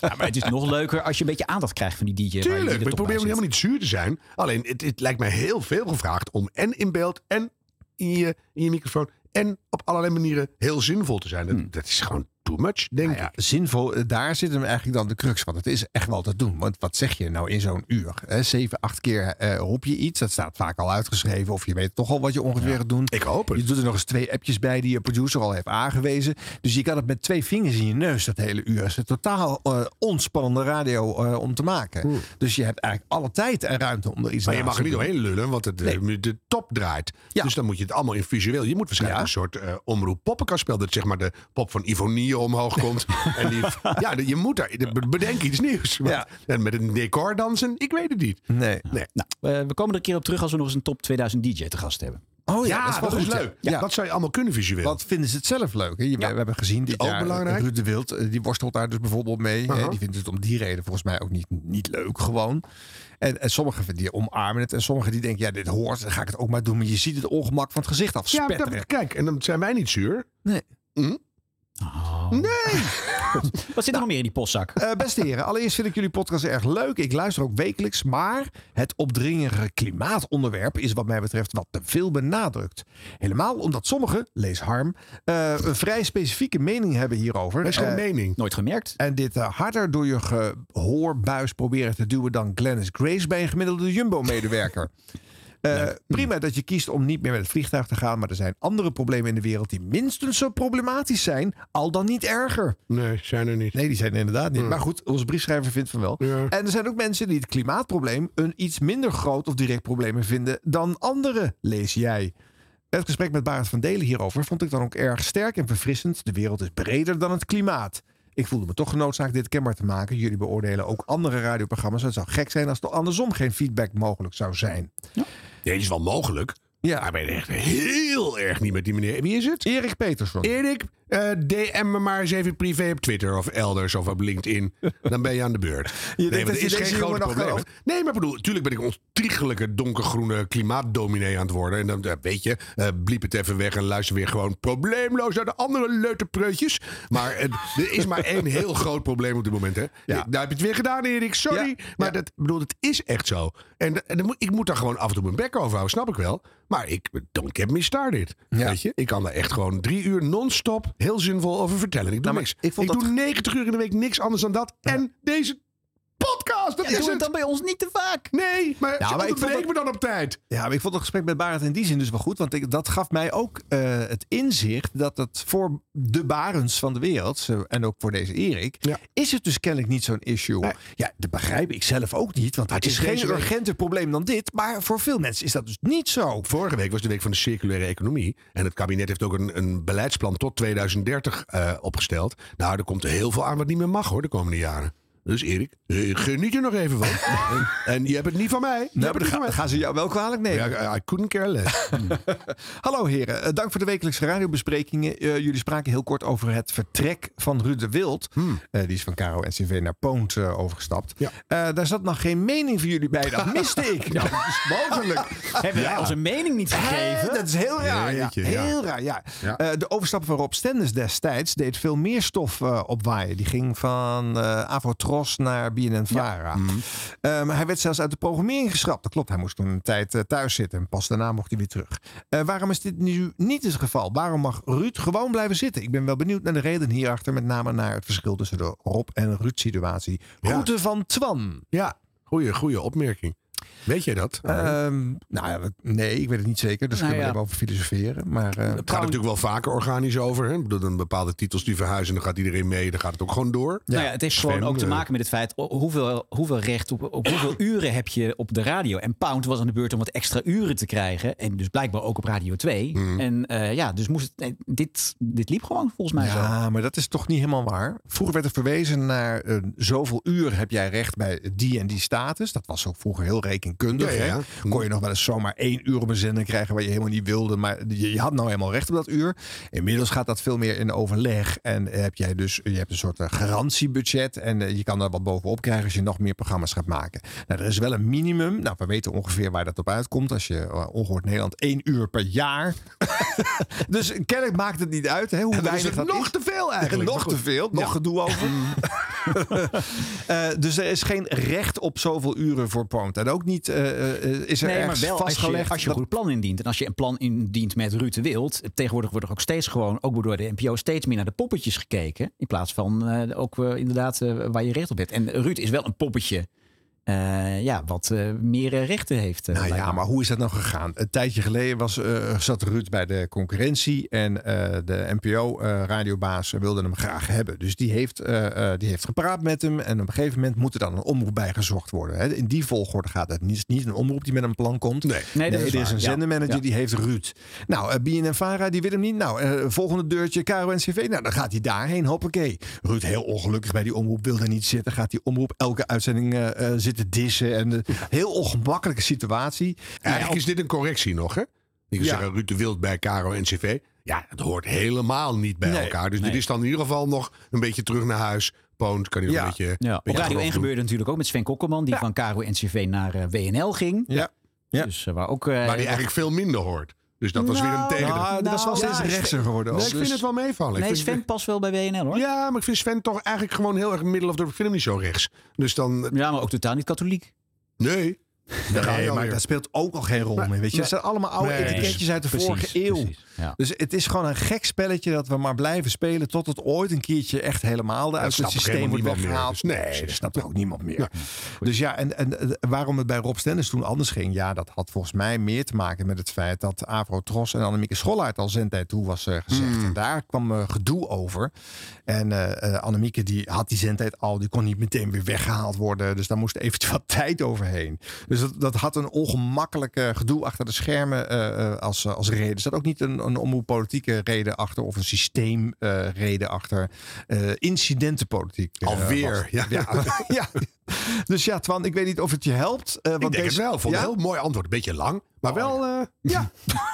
S1: Ja, maar het is nog leuker als je een beetje aandacht krijgt van die DJ. waar je- die er
S2: Tuurlijk, maar ik
S1: toch bij
S2: probeer ook
S1: zit.
S2: helemaal niet zuur te zijn. Alleen, het, het lijkt mij heel veel gevraagd om en in beeld en in je, in je microfoon... en op allerlei manieren heel zinvol te zijn. Dat, dat is gewoon too much, denk ik.
S3: Zinvol, eh, daar zit hem eigenlijk dan de crux van. Het is echt wel te doen. Want wat zeg je nou in zo'n uur? Hè? Zeven, acht keer eh, roep je iets. Dat staat vaak al uitgeschreven. Of je weet toch al wat je ongeveer gaat doen.
S2: Ik hoop het.
S3: Je doet er nog eens twee appjes bij die je producer al heeft aangewezen. Dus je kan het met twee vingers in je neus dat hele uur. Het is een totaal eh, onspannende radio eh, om te maken. Dus je hebt eigenlijk alle tijd en ruimte om er iets
S2: Maar je
S3: naast
S2: mag er
S3: te
S2: niet
S3: doen.
S2: doorheen lullen, want het, eh, de top draait. Dus dan moet je het allemaal in visueel. Je moet waarschijnlijk een soort eh, omroep poppenkast spelen. Dat zeg maar de pop van Ivonie omhoog komt. en die, ja, je moet daar, bedenk iets nieuws. Want- En met een decor dansen, ik weet het niet.
S3: Nee.
S1: Nou, eh, we komen er een keer op terug als we nog eens een top 2000 DJ te gast hebben.
S3: Oh
S2: ja, dat is, wel
S3: goed,
S2: leuk.
S3: ja. Ja.
S2: Dat zou je allemaal kunnen visueel.
S3: Wat vinden ze het zelf leuk? Hè? Je- We hebben gezien dit
S2: Ook
S3: jaar,
S2: belangrijk. Uh-huh.
S3: Ruud de Wild, eh, die worstelt daar dus bijvoorbeeld mee. hè? Die vindt het om die reden volgens mij ook niet, niet leuk gewoon. En, en sommigen vinden- die omarmen het. En sommigen die denken, ja, dit hoort, dan ga ik het ook maar doen. Maar je ziet het ongemak van het gezicht af.
S2: Ja, maar dat- kijk, en dan zijn wij niet zuur. Hm?
S3: Nee.
S2: Nee!
S1: Oh. Wat zit er nog meer in die postzak?
S3: Eh, beste heren, allereerst vind ik jullie podcast erg leuk. Ik luister ook wekelijks, maar het opdringende klimaatonderwerp is wat mij betreft wat te veel benadrukt. Helemaal omdat sommigen, lees Harm, eh, een vrij specifieke mening hebben hierover.
S2: Dat is geen
S3: Eh,
S2: mening.
S1: Nooit gemerkt.
S3: En dit eh, harder door je gehoorbuis proberen te duwen dan Glennis Grace bij een gemiddelde Jumbo-medewerker. Eh, prima dat je kiest om niet meer met het vliegtuig te gaan, maar er zijn andere problemen in de wereld die minstens zo problematisch zijn, al dan niet erger.
S2: Nee, zijn er niet. Hmm.
S3: Nee, die zijn er inderdaad niet.
S2: Ja.
S3: Maar goed, onze briefschrijver vindt van wel. En er zijn ook mensen die het klimaatprobleem een iets minder groot of direct probleem vinden dan anderen, lees jij. Het gesprek met Barend van Delen hierover vond ik dan ook erg sterk en verfrissend. De wereld is breder dan het klimaat. Ik voelde me toch genoodzaakt dit kenbaar te maken. Jullie beoordelen ook andere radioprogramma's. Het zou gek zijn als er andersom geen feedback mogelijk zou zijn.
S2: Nee, dat is wel mogelijk. Ja. Hij weet echt heel erg niet met die meneer. Wie is het?
S3: Erik Peterson.
S2: Erik, eh, DM me maar eens even privé op Twitter of elders of op LinkedIn. Dan ben je aan de beurt.
S3: denkt dat
S2: want
S3: je deze jongen nog gelooft?
S2: Nee, maar bedoel, natuurlijk ben ik ontiegelijke donkergroene klimaatdominee aan het worden. En dan eh, weet je, eh, bliep het even weg en luister weer gewoon probleemloos naar de andere leuterpreutjes. Maar eh, er is maar één heel groot probleem op dit moment. Hè? Daar heb je het weer gedaan, Erik. Sorry. Maar dat, bedoel, dat is echt zo. En, dat- en dan moet- ik moet daar gewoon af en toe mijn bek over houden, snap ik wel. Maar ik don't get me started. Weet je? Ik kan daar echt gewoon drie uur non-stop heel zinvol over vertellen.
S1: Nou,
S2: Ik doe niks. Ik, doe 90 uur in de week niks anders dan dat. En deze podcast. Dat
S1: Ja,
S2: is
S1: doe het
S2: het
S1: dan bij ons niet te vaak. Nou,
S2: Nee, maar,
S3: Ja, maar ik vond
S2: me dan op tijd.
S3: Ja, maar ik vond het gesprek met Barend in die zin dus wel goed. Want ik, dat gaf mij ook eh, het inzicht dat het voor de Barends van de wereld, zo- en ook voor deze Erik, is het dus kennelijk niet zo'n issue. Ja, dat begrijp ik zelf ook niet. Want het is, geen urgent. probleem dan dit. Maar voor veel mensen is dat dus niet zo.
S2: Vorige week was de week van de circulaire economie. En het kabinet heeft ook een, een beleidsplan tot 2030 eh, opgesteld. Nou, er komt heel veel aan wat niet meer mag hoor de komende jaren. Dus Erik, eh, geniet er nog even van. en, en je hebt het niet van mij. Je hebt het niet van mij.
S3: gaan ze jou wel kwalijk nemen.
S2: Ja, I I couldn't care less.
S3: Hallo heren, Eh, dank voor de wekelijkse radiobesprekingen. Eh, jullie spraken heel kort over het vertrek van Ruud de Wild. Eh, die is van Caro NCV naar Poont eh, overgestapt. Eh, daar zat nog geen mening van jullie bij. Dat miste ik. Nou, dat is mogelijk.
S1: Hebben wij
S3: Ja.
S1: onze mening niet
S3: Hè?
S1: gegeven?
S3: Dat is heel raar. Ja.
S1: Jeetje, ja.
S3: Heel raar, ja. Eh, de overstap van Rob Stenders destijds deed veel meer stof eh, opwaaien. Die ging van eh Avotros naar BNNVARA.
S2: Mhm.
S3: Eh, maar hij werd zelfs uit de programmering geschrapt. Dat klopt, hij moest toen een tijd eh, thuis zitten. En pas daarna mocht hij weer terug. Eh, waarom is dit nu niet het geval? Waarom mag Ruud gewoon blijven zitten? Ik ben wel benieuwd naar de reden hierachter. Met name naar het verschil tussen de Rob en Ruud situatie. Groeten van Twan.
S2: Ja, goeie, goeie opmerking. Weet jij dat?
S3: Ehm, nou ja, dat- nee, ik weet het niet zeker. Dus
S2: Nou
S3: kunnen
S2: ja.
S3: we erover filosoferen. Maar, eh,
S2: Het gaat natuurlijk wel vaker organisch over. Hè? Ik bedoel, dan bepaalde titels die verhuizen, dan gaat iedereen mee. Dan gaat het ook gewoon door.
S1: nou ja, het heeft gewoon
S2: Sven,
S1: ook te
S2: eh,
S1: maken met het feit ho- hoeveel, hoeveel recht op, op hoeveel
S2: Ah.
S1: uren heb je op de radio. En Pound was aan de beurt om wat extra uren te krijgen. En dus blijkbaar ook op Radio 2.
S2: Mm.
S1: En eh, ja, dus moest het, nee, dit, dit liep gewoon volgens mij zo.
S3: Ja, maar dat is toch niet helemaal waar. Vroeger werd er verwezen naar eh, zoveel uur heb jij recht bij die en die status. Dat was ook vroeger heel rekenkundig.
S2: Ja, ja, ja.
S3: Hè? Kon je nog wel eens zomaar één uur op een zender krijgen waar je helemaal niet wilde. Maar je, je had nou helemaal recht op dat uur. Inmiddels gaat dat veel meer in overleg. En heb jij dus je hebt een soort eh, garantiebudget. En eh, je kan daar wat bovenop krijgen als je nog meer programma's gaat maken. Nou, er is wel een minimum. Nou, we weten ongeveer waar dat op uitkomt. Als je eh, ongehoord Nederland één uur per jaar. dus kennelijk maakt het niet uit hè, hoe
S2: En dan is
S3: weinig
S2: het
S3: dat
S2: nog
S3: is.
S2: te veel eigenlijk.
S3: Nog
S2: Maar goed.
S3: te veel, nog
S2: Ja.
S3: gedoe over. Eh, dus er is geen recht op zoveel uren voor Poont. En ook niet eh, eh, is er
S1: nee, maar
S3: ergens
S1: wel als je,
S3: vastgelegd.
S1: als je
S3: dat-
S1: een goed plan indient. En als je een plan indient met Ruud de Wild. Tegenwoordig wordt er ook steeds gewoon, ook door de NPO, steeds meer naar de poppetjes gekeken. In plaats van eh, ook eh, inderdaad eh, waar je recht op hebt. En Ruud is wel een poppetje. eh, ja, wat eh, meer eh, rechten heeft. eh,
S3: nou
S1: blijkbaar.
S3: ja, maar hoe is dat nou gegaan? Een tijdje geleden was, eh, zat Ruud bij de concurrentie. En eh, de NPO-radiobaas eh, wilde hem graag hebben. Dus die heeft, eh, eh, die heeft gepraat met hem. En op een gegeven moment moet er dan een omroep bij gezocht worden. Hè. In die volgorde gaat het. niet, niet een omroep die met een plan komt. Nee,
S1: Nee, dat is
S3: er is
S1: waar.
S3: een
S1: Ja.
S3: zendermanager
S1: Ja.
S3: die heeft Ruud. Nou, eh BNN Vara, die wil hem niet. Nou, eh, volgende deurtje, KRO-NCV. Nou, dan gaat hij daarheen. Hoppakee. Ruud, heel ongelukkig bij die omroep, wil er niet zitten. Gaat die omroep elke uitzending eh, eh, zitten dissen. En, eh, heel ongemakkelijke situatie. Nou,
S2: Eigenlijk is dit een correctie nog, hè? Ik wil
S3: Ja.
S2: zeggen, Ruud de Wild bij Caro NCV. Ja, dat hoort helemaal niet bij
S3: Nee.
S2: elkaar. Dus dit
S1: Nee.
S2: is dan in ieder geval nog een beetje terug naar huis. Poont kan hij nog
S1: Ja.
S2: een beetje...
S1: Ja,
S2: beetje
S1: op Radio 1
S2: geloof doen.
S1: gebeurde natuurlijk ook met Sven Kokkelman, die van Caro NCV naar eh, WNL ging.
S3: Ja.
S1: Dus eh, waar ook. eh,
S2: Waar hij eigenlijk veel minder hoort. Dus dat was weer een
S1: Nou,
S2: tegen.
S1: nou,
S3: dat is wel steeds rechtser geworden
S2: Nee,
S3: ook.
S2: ik vind
S3: Dus-
S2: het wel meevallen. Ik
S1: Nee,
S2: vind-
S1: Sven past wel bij WNL hoor.
S2: Ja, maar ik vind Sven toch eigenlijk gewoon heel erg middel of de film niet zo rechts. Dus dan...
S1: Ja, maar ook totaal niet katholiek.
S2: Nee. Daar gaan we
S3: Nee, maar
S2: alweer.
S3: dat speelt ook al geen rol meer. Weet je?
S2: nee.
S3: Dat zijn allemaal oude
S2: Nee.
S3: etiketjes uit de
S2: Precies,
S3: vorige eeuw.
S2: precies, ja.
S3: Dus het is gewoon een gek spelletje dat we maar blijven spelen... tot het ooit een keertje echt helemaal uit het
S2: snapt ook
S3: systeem wordt
S2: helemaal niemand meer,
S3: weggehaald.
S2: dus
S3: nee, dat snapt ook niemand meer. Dus ja, en, en eh, waarom het bij Rob Stennis toen anders ging... ja, dat had volgens mij meer te maken met het feit... dat Avro Tros en Annemieke Schollaert al zendtijd toe was eh, gezegd. En daar kwam eh, gedoe over. En eh, eh, Annemieke die had die zendtijd al... die kon niet meteen weer weggehaald worden. Dus daar moest eventjes wat tijd overheen. Dus Dus dat, dat had een ongemakkelijke gedoe achter de schermen eh, eh, als, eh, als reden. Er zat ook niet een, een omroep politieke reden achter of een systeemreden reden achter. Eh, incidentenpolitiek. eh,
S2: Alweer,
S3: was het.
S2: ja.
S3: ja. ja. Dus ja, Twan, ik weet niet of het je helpt. eh, want
S2: Ik denk het
S3: deze-
S2: wel. Vond een
S3: Ja?
S2: heel mooi antwoord. Beetje lang. Maar wel... eh,
S3: Ja.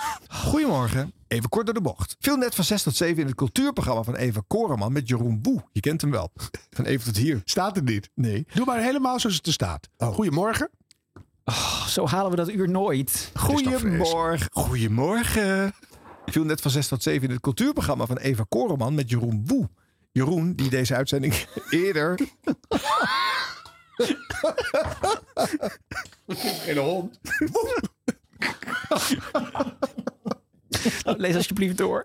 S3: Goedemorgen. Even kort door de bocht. Viel net van 6 tot 7 in het cultuurprogramma van Eva Koreman met Jeroen Boe. Je kent hem wel. Van even tot hier.
S2: Staat het niet?
S3: Nee. Oh.
S2: Doe maar helemaal zoals het er staat. Goedemorgen.
S1: Oh, zo halen we dat uur nooit.
S3: Goedemorgen. Goedemorgen. Viel net van 6 tot 7 in het cultuurprogramma van Eva Koreman met Jeroen Boe. Jeroen, die deze uitzending eerder.
S2: Geen hond.
S1: Lees alsjeblieft door.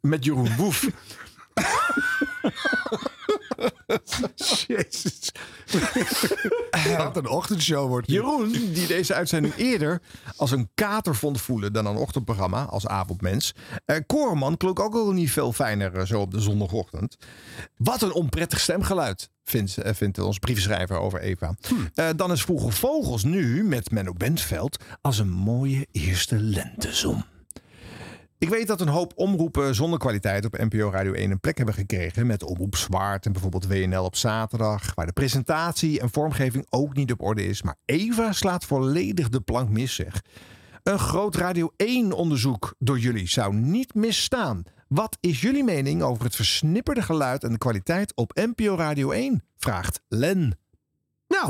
S3: met Jeroen Boef.
S2: Jezus. Wat een ochtendshow wordt.
S3: Jeroen, die deze uitzending eerder als een kater vond voelen dan een ochtendprogramma, als avondmens. Eh Koreman klonk ook al niet veel fijner eh, zo op de zondagochtend. Wat een onprettig stemgeluid, vindt, eh, vindt ons briefschrijver over Eva.
S2: Hm.
S3: Eh, dan is Vroege Vogels nu, met Menno Bentveld, als een mooie eerste lentezon. Ik weet dat een hoop omroepen zonder kwaliteit op NPO Radio 1 een plek hebben gekregen. Met omroep Zwaard en bijvoorbeeld WNL op zaterdag. Waar de presentatie en vormgeving ook niet op orde is. Maar Eva slaat volledig de plank mis, zeg. Een groot Radio 1 onderzoek door jullie zou niet misstaan. Wat is jullie mening over het versnipperde geluid en de kwaliteit op NPO Radio 1? Vraagt Len.
S2: Nou,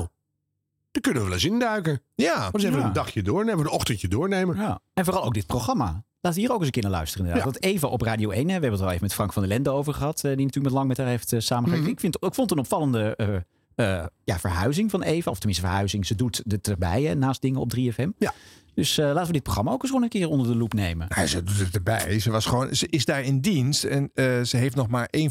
S2: daar kunnen we wel eens induiken.
S3: Ja.
S2: Want even
S1: Ja.
S2: een dagje doornemen, een ochtendje doornemen.
S1: Ja. En vooral ook dit programma. Laten we hier ook eens een keer naar luisteren. inderdaad. Want even op Radio 1, hè, we hebben het al even met Frank van der Lende over gehad. eh, die natuurlijk met lang met haar heeft eh, samengewerkt.
S3: Mhm.
S1: ik, vind, ik vond het een opvallende eh, eh, ja, verhuizing van Eva. Of tenminste verhuizing. Ze doet het erbij hè, naast dingen op 3FM. Dus eh, laten we dit programma ook eens gewoon een keer onder de loep nemen.
S3: Ja, ze doet het erbij. Ze, was gewoon, ze is daar in dienst. En eh, ze heeft nog maar één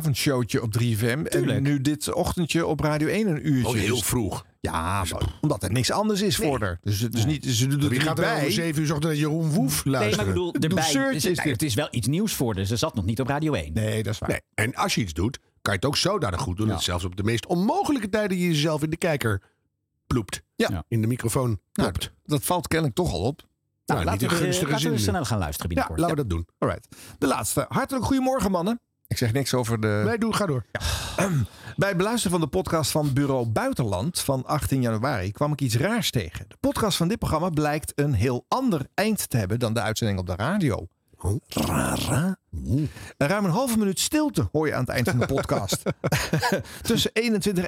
S3: vrijdagavondshowtje op 3FM. En nu dit ochtendje op Radio 1 een uurtje.
S2: Oh, heel
S3: Dus-
S2: vroeg.
S3: Ja, maar omdat er niks anders is voor haar. Dus, dus niet, ze doet het
S2: Wie
S3: er
S2: gaat
S3: niet
S2: er nou
S3: bij.
S2: om zeven uur 's ochtends naar Jeroen Woef luisteren?
S1: Nee, maar ik bedoel, erbij,
S2: Douceurtje
S1: is,
S2: is
S1: nou,
S2: dit.
S1: het is wel iets nieuws voor haar. Ze zat nog niet op Radio 1.
S3: Nee, dat is waar.
S2: En als je iets doet, kan je het ook zodanig goed doen...
S1: Ja.
S2: dat zelfs op de meest onmogelijke tijden je jezelf in de kijker ploept.
S3: Ja.
S2: In de microfoon ploept.
S3: dat valt kennelijk toch al op.
S2: Nou,
S1: laten
S2: niet
S1: we,
S2: een
S1: eh,
S2: gunstige
S1: laten we
S2: zin.
S1: snel gaan luisteren binnenkort.
S2: Ja, laten we dat doen.
S3: All right. De laatste. Hartelijk goedemorgen, mannen. Ik zeg niks over de...
S2: Wij doen, ga door.
S3: Bij het beluisteren van de podcast van Bureau Buitenland van 18 januari kwam ik iets raars tegen. De podcast van dit programma blijkt een heel ander eind te hebben dan de uitzending op de radio.
S2: Oh.
S3: Raar, raar. Ruim een halve minuut stilte hoor je aan het eind van de podcast. Tussen 21.31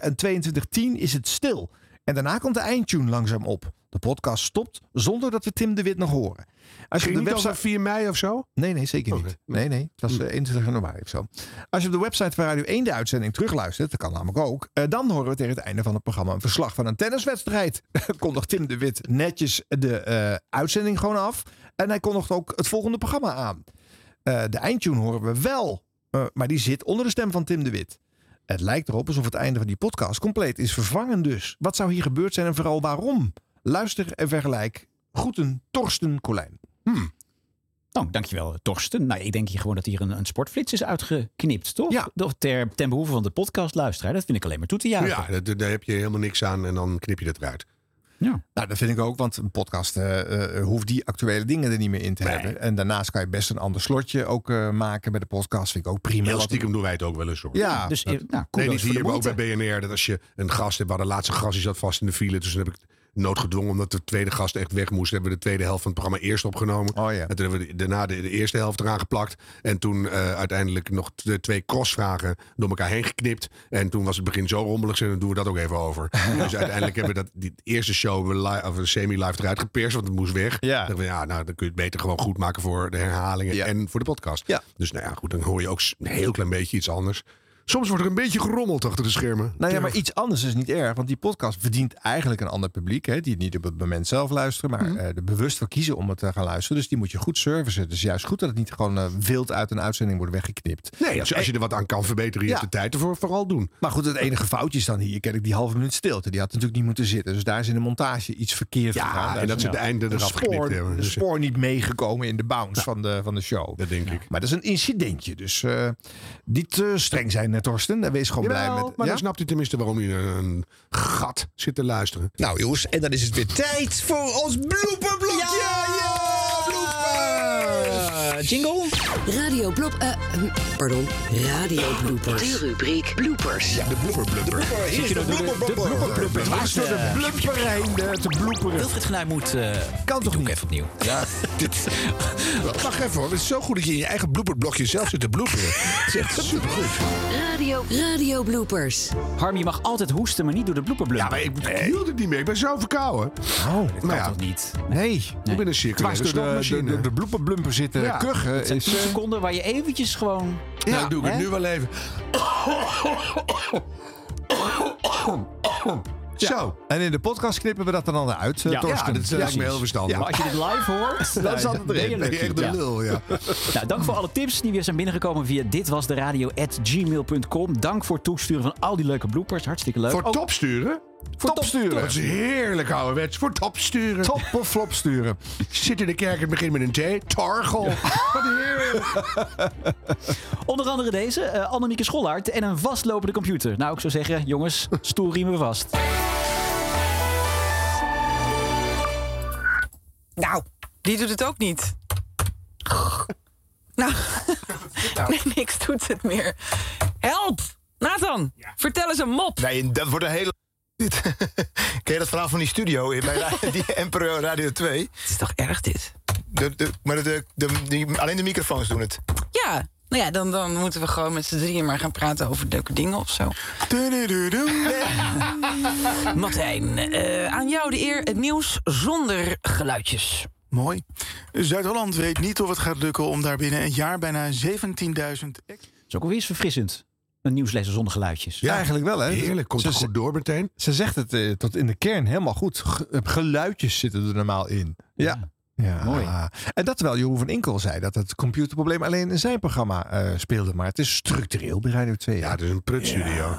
S3: en 22.10 is het stil. En daarna komt de eindtune langzaam op. De podcast stopt zonder dat we Tim de Wit nog horen. Als
S2: Ging niet over
S3: 4 mei of zo? Nee, nee, zeker niet. Nee, nee. Het was eh, 21 januari of zo. Als je op de website van Radio 1 de uitzending terugluistert, dat kan namelijk ook, eh, dan horen we tegen het einde van het programma een verslag van een tenniswedstrijd. kondigt Tim de Wit netjes de eh, uitzending gewoon af. En hij kondigt ook het volgende programma aan. Eh, de eindtune horen we wel, eh, maar die zit onder de stem van Tim de Wit. Het lijkt erop alsof het einde van die podcast compleet is vervangen dus. Wat zou hier gebeurd zijn en vooral waarom? Luister en vergelijk. Groeten, Torsten Colijn.
S1: Hmm. Nou, dankjewel, Torsten. Nou, ik denk hier gewoon dat hier een, een sportflits is uitgeknipt, toch? Ja. Ter, ten behoeve van de podcastluisteraar. Dat vind ik alleen maar toe te
S2: Ja,
S1: juichen.
S2: dat- daar heb je helemaal niks aan en dan knip je dat eruit.
S3: Nou, dat vind ik ook, want een podcast eh, eh, hoeft die actuele dingen er niet meer in te hebben. En daarnaast kan je best een ander slotje ook eh, maken bij de podcast. Vind ik ook prima.
S2: Heel
S3: Wat-
S2: stiekem doen wij het ook wel eens hoor.
S3: Ja. Dus, eh, nou,
S2: nee,
S3: kudos
S2: niet
S3: voor de
S2: hier, maar ook
S3: moeite.
S2: bij BNR. Dat als je een gast hebt, waar de laatste gast die zat vast in de file. Dus dan heb ik noodgedwongen, omdat de tweede gast echt weg moest, hebben we de tweede helft van het programma eerst opgenomen. En toen hebben we de- daarna de, de eerste helft eraan geplakt. En toen eh, uiteindelijk nog t- eh, twee crossvragen door elkaar heen geknipt. En toen was het begin zo rommelig, en dan doen we dat ook even over. Dus uiteindelijk hebben we dat, die eerste show hebben we li- of semi-live eruit geperst, want het moest weg. Ja. Dachten we, ja, nou, dan kun je het beter gewoon goed maken voor de herhalingen en voor de podcast. Dus nou ja, goed, dan hoor je ook s- een heel klein beetje iets anders. Soms wordt er een beetje gerommeld achter de schermen.
S3: Nou ja, maar iets anders is niet erg, want die podcast verdient eigenlijk een ander publiek. Hè, die het niet op het moment zelf luisteren, maar eh, er bewust voor kiezen om het te gaan luisteren. Dus die moet je goed servicen. Het is juist goed dat het niet gewoon eh, wild uit een uitzending wordt weggeknipt. Dus
S2: Nee, als, als je er wat aan kan verbeteren, je hebt de tijd ervoor vooral doen.
S3: Maar goed, het enige foutje is dan hier, ken ik die halve minuut stilte. Die had natuurlijk niet moeten zitten. Dus daar is in de montage iets verkeerd
S2: Ja,
S3: gegaan. Daar
S2: en dat
S3: is
S2: ze
S3: een-
S2: de einde
S3: een
S2: eraf
S3: spoor-
S2: geknipt hebben.
S3: Een
S2: Dus-
S3: spoor niet meegekomen in de bounce van, de, van de show. Dat denk ik. Maar dat is een incidentje, dus eh, niet te streng zijn eh, Torsten. En Wees gewoon blij met...
S2: Maar
S3: ja?
S2: dan snapt u tenminste waarom u naar een gat zit te luisteren.
S3: Nou jongens, en dan is het weer
S16: Tijd voor ons blooperblokje! Ja,
S11: jingle? Radio blop... eh, hm, pardon, radio bloopers. De rubriek bloopers. Ja,
S2: de blooper blooper.
S1: Zit je nou door de- de blooper blooper?
S11: Dwars door de
S1: blubber heen te bloeperen. Wilfried Genuij moet... eh,
S2: Kan toch niet?
S1: Even opnieuw.
S2: Ja, dit... Wacht even hoor. Het is zo goed dat je in je eigen blooperblokje zelf zit te bloeperen. Het is echt supergoed.
S11: Radio, radio bloopers.
S1: Harm, je mag altijd hoesten, maar niet door de blooperblumper. Ja, maar
S2: ik, hield het niet meer. Ik ben zo verkouden.
S1: Oh, dat kan
S2: ja.
S1: toch niet?
S3: Nee.
S2: Ik ben een circulaire
S3: Dwars door de-
S2: snapmachine.
S3: de- de- de bloeperblumper zitten kuchen
S1: Het zijn
S3: is,
S1: 10
S3: eh,
S1: seconden waar je eventjes gewoon...
S2: Ja, nou, doe ik het nu wel even.
S3: Oh. Zo. En in de podcast knippen we dat dan al uit, eh,
S1: Ja.
S3: Torsten.
S1: Ja, dat is lijkt me heel verstandig. Maar als je dit live hoort,
S3: dan zat het erin.
S1: Ben je
S3: Echt de
S1: lucky,
S3: lul, ja.
S1: Nou, dank voor alle tips die weer zijn binnengekomen via ditwasderadio.gmail.com. Dank voor het toesturen van al die leuke bloopers. Hartstikke leuk.
S2: Voor
S1: Ook-
S2: topsturen?
S1: Voor topsturen.
S2: Dat is heerlijk ouderwets. Voor topsturen.
S3: Top of flop sturen.
S2: Zit in de kerk, het begint met een T. Targel. Wat heerlijk.
S1: Onder andere deze, eh, Annemieke Schollaert en een vastlopende computer. Nou, ik zou zeggen, jongens, stoel riemen vast.
S13: Nou, die doet het ook niet. nou, nee, niks doet het meer. Help! Nathan, vertel eens een mop.
S24: Nee, dat wordt een hele... Dit. Ken je dat verhaal van die studio in bij ra- die Emperor Radio 2? Het is toch erg dit? De, de, maar de, de, die, alleen de microfoons doen het.
S13: Ja, nou ja, dan, dan moeten we gewoon met z'n drieën maar gaan praten over leuke dingen of zo. Martijn, eh, aan jou de eer het nieuws zonder geluidjes.
S20: Mooi. Zuid-Holland weet niet of het gaat lukken om daar binnen een jaar bijna 17.000 ex-
S1: Dat is ook alweer eens verfrissend. Een nieuwslezer zonder geluidjes.
S3: Ja, eigenlijk wel, hè?
S1: Heerlijk, komt het goed
S2: door meteen.
S3: Ze zegt het eh, tot in de kern helemaal goed. Ge- eh, geluidjes zitten er normaal in. Ja. ja. Mooi. En dat terwijl Jeroen van Inkel zei dat het computerprobleem alleen in zijn programma eh, speelde. Maar het is structureel bij Radio 2. Ja,
S2: het is een prutstudio.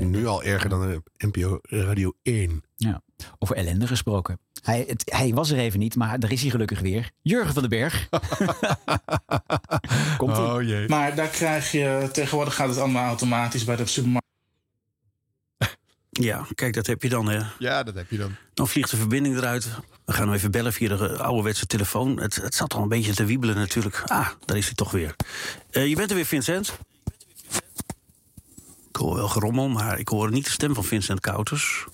S2: Nu al erger dan de NPO Radio 1.
S1: Ja. Over ellende gesproken. Hij, het- hij was er even niet, maar daar is hij gelukkig weer. Jurgen van den Berg. Komt
S3: Oh,
S1: ie.
S20: Maar daar krijg je, tegenwoordig gaat het allemaal automatisch bij de supermarkt.
S25: Ja, kijk, dat heb je dan, hè.
S3: Ja, dat heb je dan.
S25: Dan vliegt de verbinding eruit. We gaan nou even bellen via de eh, ouderwetse telefoon. Het, het zat al een beetje te wiebelen natuurlijk. Ah, daar is hij toch weer. Eh, je bent er weer, Vincent. Ik hoor wel gerommel, maar ik hoor niet de stem van Vincent Kouters.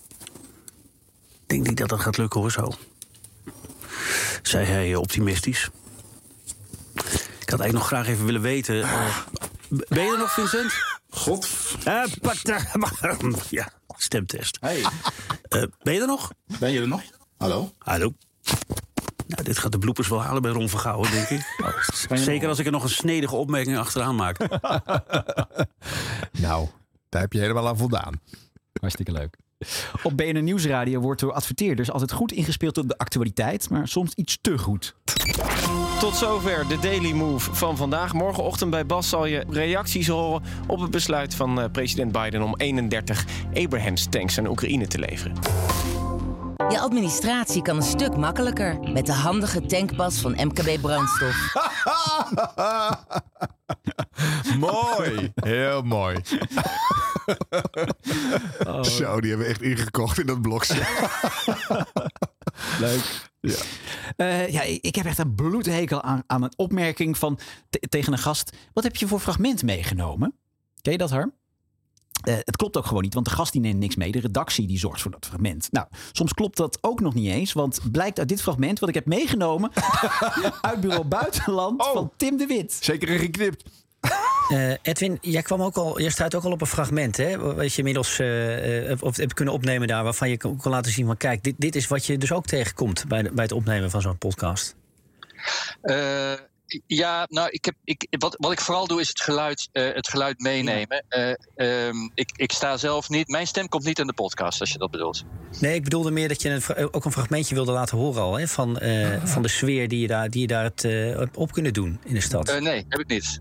S25: Ik denk niet dat dat gaat lukken, hoor, zo. Zei hij eh, optimistisch. Ik had eigenlijk nog graag even willen weten... eh, b- ben je er nog, Vincent? God. ja, stemtest. Eh, ben je er nog? Ben je er nog? Hallo? Hallo? Nou, dit gaat de bloepers wel halen bij Ron van Gouwen, denk ik. Zeker als ik er nog een snedige opmerking achteraan maak.
S3: Nou, daar heb je helemaal aan voldaan.
S1: Hartstikke leuk. Op BNN Nieuwsradio wordt door adverteerders altijd goed ingespeeld op de actualiteit, maar soms iets te goed.
S26: Tot zover de Daily Move van vandaag. Morgenochtend bij Bas zal je reacties horen op het besluit van eh, president Biden om 31 Abrams tanks aan Oekraïne te leveren.
S27: Je administratie kan een stuk makkelijker met de handige tankpas van MKB Brandstof.
S3: mooi. Heel mooi.
S2: Zo, die hebben we echt ingekocht in dat blokje.
S1: Leuk. Ja. Eh, ja, ik- ik heb echt een bloedhekel aan, aan een opmerking van te- tegen een gast. Wat heb je voor fragment meegenomen? Ken je dat, Harm? Eh, het klopt ook gewoon niet, want de gast die neemt niks mee. De redactie die zorgt voor dat fragment. Nou, soms klopt dat ook nog niet eens, want blijkt uit dit fragment wat ik heb meegenomen uit bureau buitenland van Tim de Wit.
S3: Oh. Zeker een geknipt.
S28: Eh, Edwin, jij kwam ook al, jij staat ook al op een fragment, hè? Wat je inmiddels eh, eh, of hebt kunnen opnemen daar, waarvan je kon kon laten zien van kijk, dit, dit is wat je dus ook tegenkomt bij, de- bij het opnemen van zo'n podcast.
S29: Eh, ja, nou, ik heb, ik, wat, wat ik vooral doe is het geluid, eh, het geluid meenemen. Eh, ehm, ik, ik sta zelf niet, mijn stem komt niet in de podcast, als je dat bedoelt.
S28: Nee, ik bedoelde meer dat je een, fra- ook een fragmentje wilde laten horen al, hè? Van, eh, van de sfeer die je daar, die je daar het, eh, op kunnen doen in de stad.
S29: Eh, nee, heb ik niet.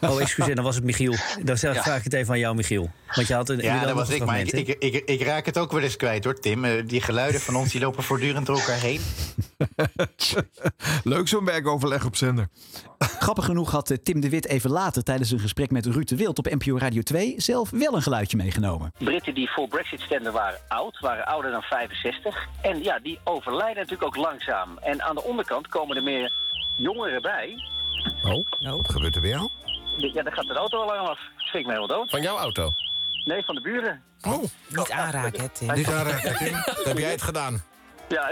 S28: Oh, excuseer, dan was het Michiel. Dan zeg-
S29: Ja.
S28: vraag ik het even aan jou, Michiel. Want je had een,
S24: Ja,
S28: inderdaad
S24: dat was
S28: nog
S24: ik,
S28: een
S24: maar ik,
S28: fragment, hè?
S24: ik, ik, ik raak het ook wel eens kwijt hoor, Tim. Eh, die geluiden van ons die lopen voortdurend door elkaar heen.
S3: Leuk zo'n werkoverleg op zender.
S1: Grappig genoeg had eh, Tim de Wit even later tijdens een gesprek met Ruud de Wild op NPO Radio 2 zelf wel een geluidje meegenomen.
S10: Britten die voor Brexit stemden waren oud, waren ouder dan 65. En ja, die overlijden natuurlijk ook langzaam. En aan de onderkant komen er meer jongeren bij.
S25: Oh, wat gebeurt er weer al?
S10: Ja, dan gaat de auto al lang af. Dat vind ik me helemaal dood.
S25: Van jouw auto?
S10: Nee, van de buren.
S25: Oh,
S10: niet aanraken, hè, Tim.
S25: Niet aanraken, Tim. Dan heb jij het gedaan.
S10: Ja,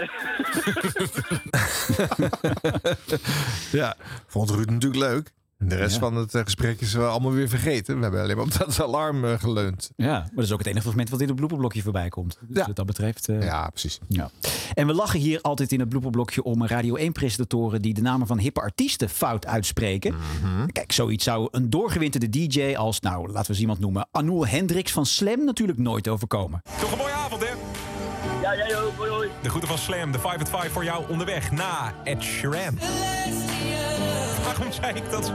S3: Ja, vond Ruud natuurlijk leuk. De rest van het eh, gesprek is eh, allemaal weer vergeten. We hebben alleen maar op dat alarm eh, geleund.
S1: Ja, maar dat is ook het enige fragment wat in het blooperblokje voorbij komt. Dus wat dat betreft...
S3: ja, precies.
S1: Ja. En we lachen hier altijd in het blooperblokje om Radio 1-presentatoren... die de namen van hippe artiesten fout uitspreken.
S3: Mhm.
S1: Kijk, zoiets zou een doorgewinterde DJ als, nou, laten we eens iemand noemen... Anoul Hendricks van Slam natuurlijk nooit overkomen.
S22: Toch een mooie avond, hè?
S10: Ja, jij ook. Hoi, hoi.
S22: De groeten van Slam, de 5 at 5 voor jou onderweg na Ed Sheeran. Waarom zei ik dat zo?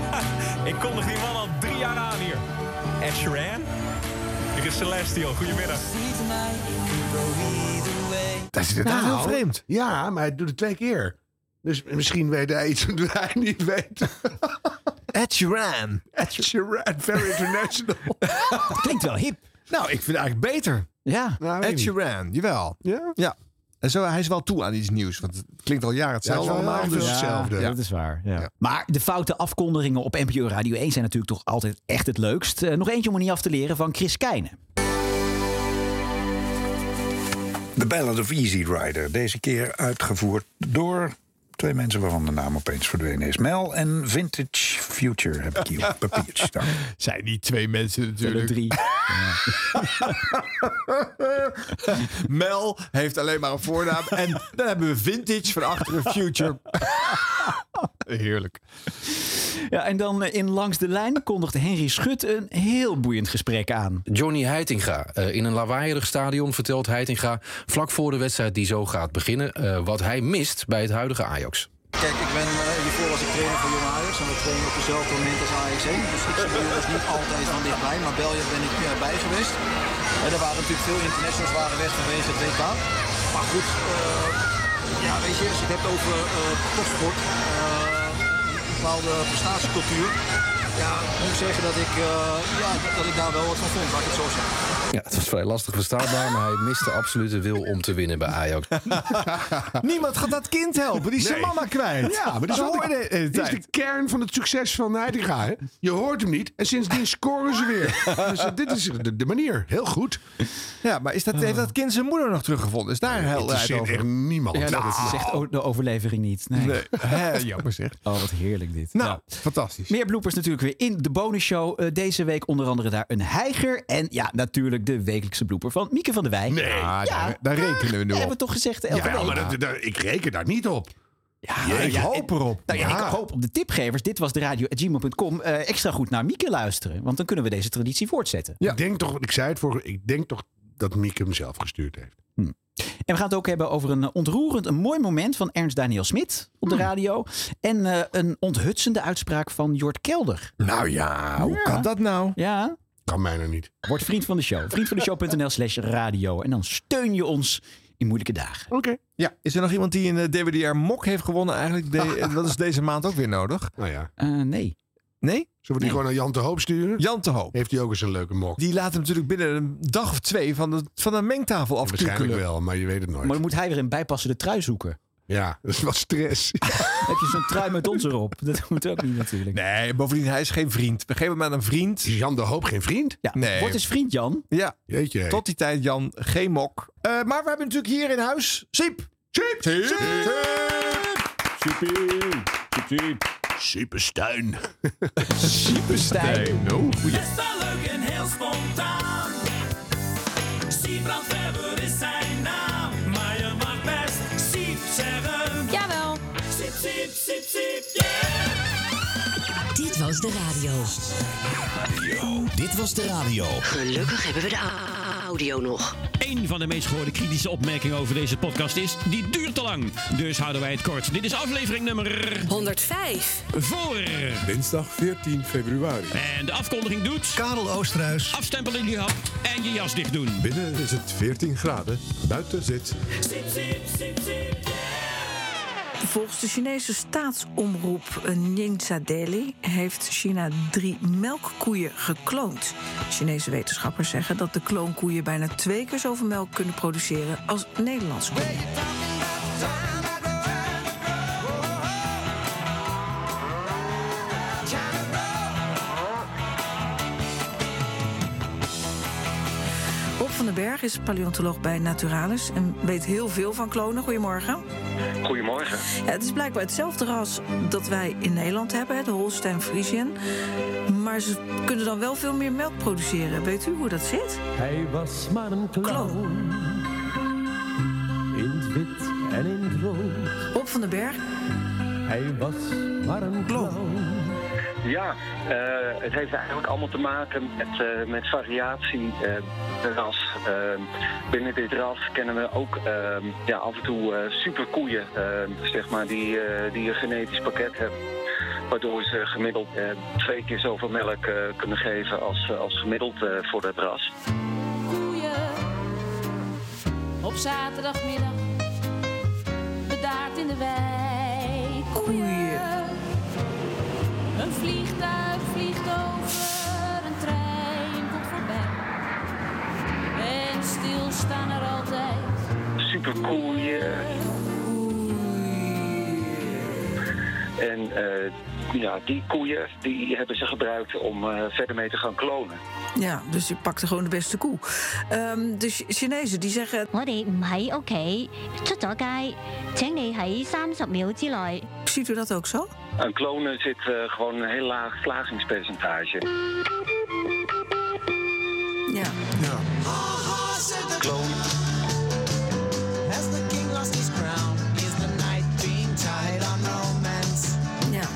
S22: ik kondig die man al drie jaar aan hier. Ed Sheeran? Dit is Celestial, goedemiddag.
S2: Dat is
S3: Nou,
S22: inderdaad
S10: Nou,
S2: heel
S22: heel
S2: vreemd. Ja, maar hij doet het twee keer. Dus misschien weet hij iets wat wij niet weten.
S3: Ed Sheeran.
S2: Ed Sheeran, very international.
S1: Klinkt wel hip.
S3: Nou, ik vind het eigenlijk beter.
S1: Ja,
S2: weet
S3: Ed
S2: niet.
S3: Sheeran, jawel.
S2: Ja?
S3: Ja. En zo, hij is wel toe aan iets nieuws, want het klinkt al jaren
S1: Ja, het is
S3: hetzelfde.
S1: wel
S3: allemaal,
S1: heel
S3: dus
S1: erg
S3: hetzelfde.
S1: Ja, dat is waar. Ja. Maar de foute afkondigingen op NPO Radio 1 zijn natuurlijk toch altijd echt het leukst. Eh, nog eentje om er niet af te leren van Chris Keijnen.
S30: The Ballad of Easy Rider. Deze keer uitgevoerd door twee mensen waarvan de naam opeens verdwenen is. Mel en Vintage Future heb ik hier op papiertje staan.
S3: Zijn niet twee mensen natuurlijk.
S1: drie.
S3: Mel heeft alleen maar een voornaam. En dan hebben we Vintage van achteren Future. Heerlijk.
S1: Ja, en dan eh, in Langs de Lijn kondigde Henry Schut een heel boeiend gesprek aan.
S19: Johnny Heitinga. Eh, in een lawaaierig stadion vertelt Heitinga vlak voor de wedstrijd die zo gaat beginnen... eh, wat hij mist bij het huidige Ajax.
S8: Kijk, ik ben eh, hiervoor was ik trainer voor Jong Ajax en we trainen op dezelfde moment als Ajax 1. Dus ik zie de jongens niet altijd van dichtbij, maar België ben ik eh, bij geweest. En er waren natuurlijk veel internationals waren weg vanwege het WK. Maar goed, eh, ja, weet je, als je het hebt over eh topsport, eh, een bepaalde prestatiecultuur. Ja, ik moet zeggen dat ik, eh, ja, dat ik daar wel wat van vond, laat ik het zo zeggen.
S19: Ja, het was vrij lastig verstaanbaar, maar hij miste absoluut de wil om te winnen bij Ajax.
S3: Niemand gaat dat kind helpen. Die is zijn mama kwijt.
S2: Ja, maar dat is, wel
S3: hoorde
S2: de,
S3: de hele
S2: dit is
S3: tijd.
S2: de kern van het succes van Heitinga. hè? Je hoort hem niet en sindsdien scoren ze weer. Dus eh, dit is de, de manier. Heel goed.
S3: Ja, maar is dat, heeft dat kind zijn moeder nog teruggevonden? Is daar helderheid
S2: interesseert
S3: over? Nou.
S2: echt niemand.
S1: Ja, dat zegt o- de overlevering niet. Nee.
S3: Nee. Hè, jammer zeg.
S1: Oh, wat heerlijk dit.
S3: Nou, fantastisch.
S1: Meer bloepers natuurlijk weer in de bonusshow. Eh, deze week onder andere daar een heiger. En ja, natuurlijk de wekelijkse blooper van Mieke van der Wij. Nee, ja,
S2: daar- daar rekenen we nu
S1: Dat
S2: op.
S1: hebben we toch gezegd elke
S2: Ja,
S1: week.
S2: maar dat, dat- ik reken daar niet op.
S1: Ja,
S2: Ja, ik
S1: ja,
S2: hoop
S1: en-
S2: erop.
S1: Nou ja,
S2: Ja.
S1: Ik hoop op de tipgevers. Dit was de radio.gmail.com. Eh extra goed naar Mieke luisteren. Want dan kunnen we deze traditie voortzetten.
S2: Ik denk toch, ik zei het vorige, ik denk toch dat Miek hem zelf gestuurd heeft.
S1: En we gaan het ook hebben over een eh, ontroerend, een mooi moment van Ernst Daniel Smit op de
S2: Hmm.
S1: radio. En eh, een onthutsende uitspraak van Jort Kelder.
S3: Nou ja, hoe kan dat nou?
S1: Ja.
S2: Kan mij nou niet.
S1: Word vriend van de show. Vriendvandeshow.nl slash radio. En dan steun je ons in moeilijke dagen.
S2: Oké.
S3: Ja, is er nog iemand die een eh, DWDR-mok heeft gewonnen eigenlijk? De- dat is deze maand ook weer nodig.
S2: Nou ja.
S1: Eh, nee.
S3: Nee?
S2: Zullen we die gewoon naar Jan te Hoop sturen?
S3: Jan te Hoop.
S2: Heeft hij ook eens een leuke mok?
S3: Die laat hem natuurlijk binnen een dag of twee van de, van de mengtafel afkukkelen.
S2: Waarschijnlijk wel, maar je weet het nooit.
S1: Maar dan moet hij weer een bijpassende trui zoeken.
S2: Ja, dat is wel stress.
S1: heb je zo'n trui met ons erop? Dat moet ook niet natuurlijk.
S3: Nee, bovendien, hij is geen vriend. We geven hem aan een vriend. Is
S2: Jan de Hoop geen vriend?
S1: Ja,
S3: nee.
S1: Word eens vriend, Jan.
S3: Ja.
S2: Jeetje.
S3: Tot die tijd, Jan, geen mok. Eh, maar we hebben natuurlijk hier in huis Siep.
S2: Siep.
S3: Siep.
S2: Supersteun.
S1: Superstein.
S2: Oh,
S31: Best wel leuk en heel spontaan. Siebrand Weber is zijn naam. Maar je mag best Siep zeggen. Jawel. Siep, siep, siep, siep, yeah.
S32: Dit was
S11: was de radio.
S31: Dit was de radio.
S11: Gelukkig hebben we de a- audio nog.
S31: Eén van de meest gehoorde kritische opmerkingen over deze podcast is... die duurt te lang, dus houden wij het kort. Dit is aflevering nummer...
S11: 105.
S31: Voor...
S12: Dinsdag 14 februari.
S31: En de afkondiging doet... Karel Oosterhuis. Afstempel in je hap en je jas dicht doen.
S12: Binnen is het 14 graden. Buiten zit
S13: Volgens de Chinese staatsomroep eh, Ningxia Daily heeft China drie melkkoeien gekloond. Chinese wetenschappers zeggen dat de kloonkoeien bijna twee keer zoveel melk kunnen produceren als Nederlandse koeien. Bob van den Berg is paleontoloog bij Naturalis en weet heel veel van klonen. Goedemorgen.
S10: Goedemorgen.
S13: Ja, het is blijkbaar hetzelfde ras dat wij in Nederland hebben, hè, de Holstein Friesian. Maar ze kunnen dan wel veel meer melk produceren. Weet u hoe dat zit?
S8: Hij was maar een clown. In het wit en in het rood.
S13: Bob van den Berg.
S8: Hij was maar een clown.
S10: Ja, eh, het heeft eigenlijk allemaal te maken met, eh, met variatie eh ras. Eh, binnen dit ras kennen we ook eh, ja, af en toe eh, superkoeien, eh, zeg maar, die, eh, die een genetisch pakket hebben. Waardoor ze gemiddeld eh, twee keer zoveel melk eh, kunnen geven als, eh, als gemiddeld eh, voor dat ras.
S14: koeien. Op zaterdagmiddag bedaard in de wijk. Koeien. Een vliegtuig vliegt over, een trein komt voorbij. En stilstaan er altijd.
S10: superkoeien. En eh, ja, die koeien die hebben ze gebruikt om eh, verder mee te gaan klonen.
S13: Ja, dus je pakte gewoon de beste koe. Ehm de Ch- Chinezen die zeggen...
S17: 我哋唔喺屋企，出咗街，請你喺三十秒之內。
S13: Ziet u dat ook zo?
S10: Aan klonen zit eh, gewoon een heel laag slagingspercentage.
S13: Ja.
S10: Kloon.
S13: Ja.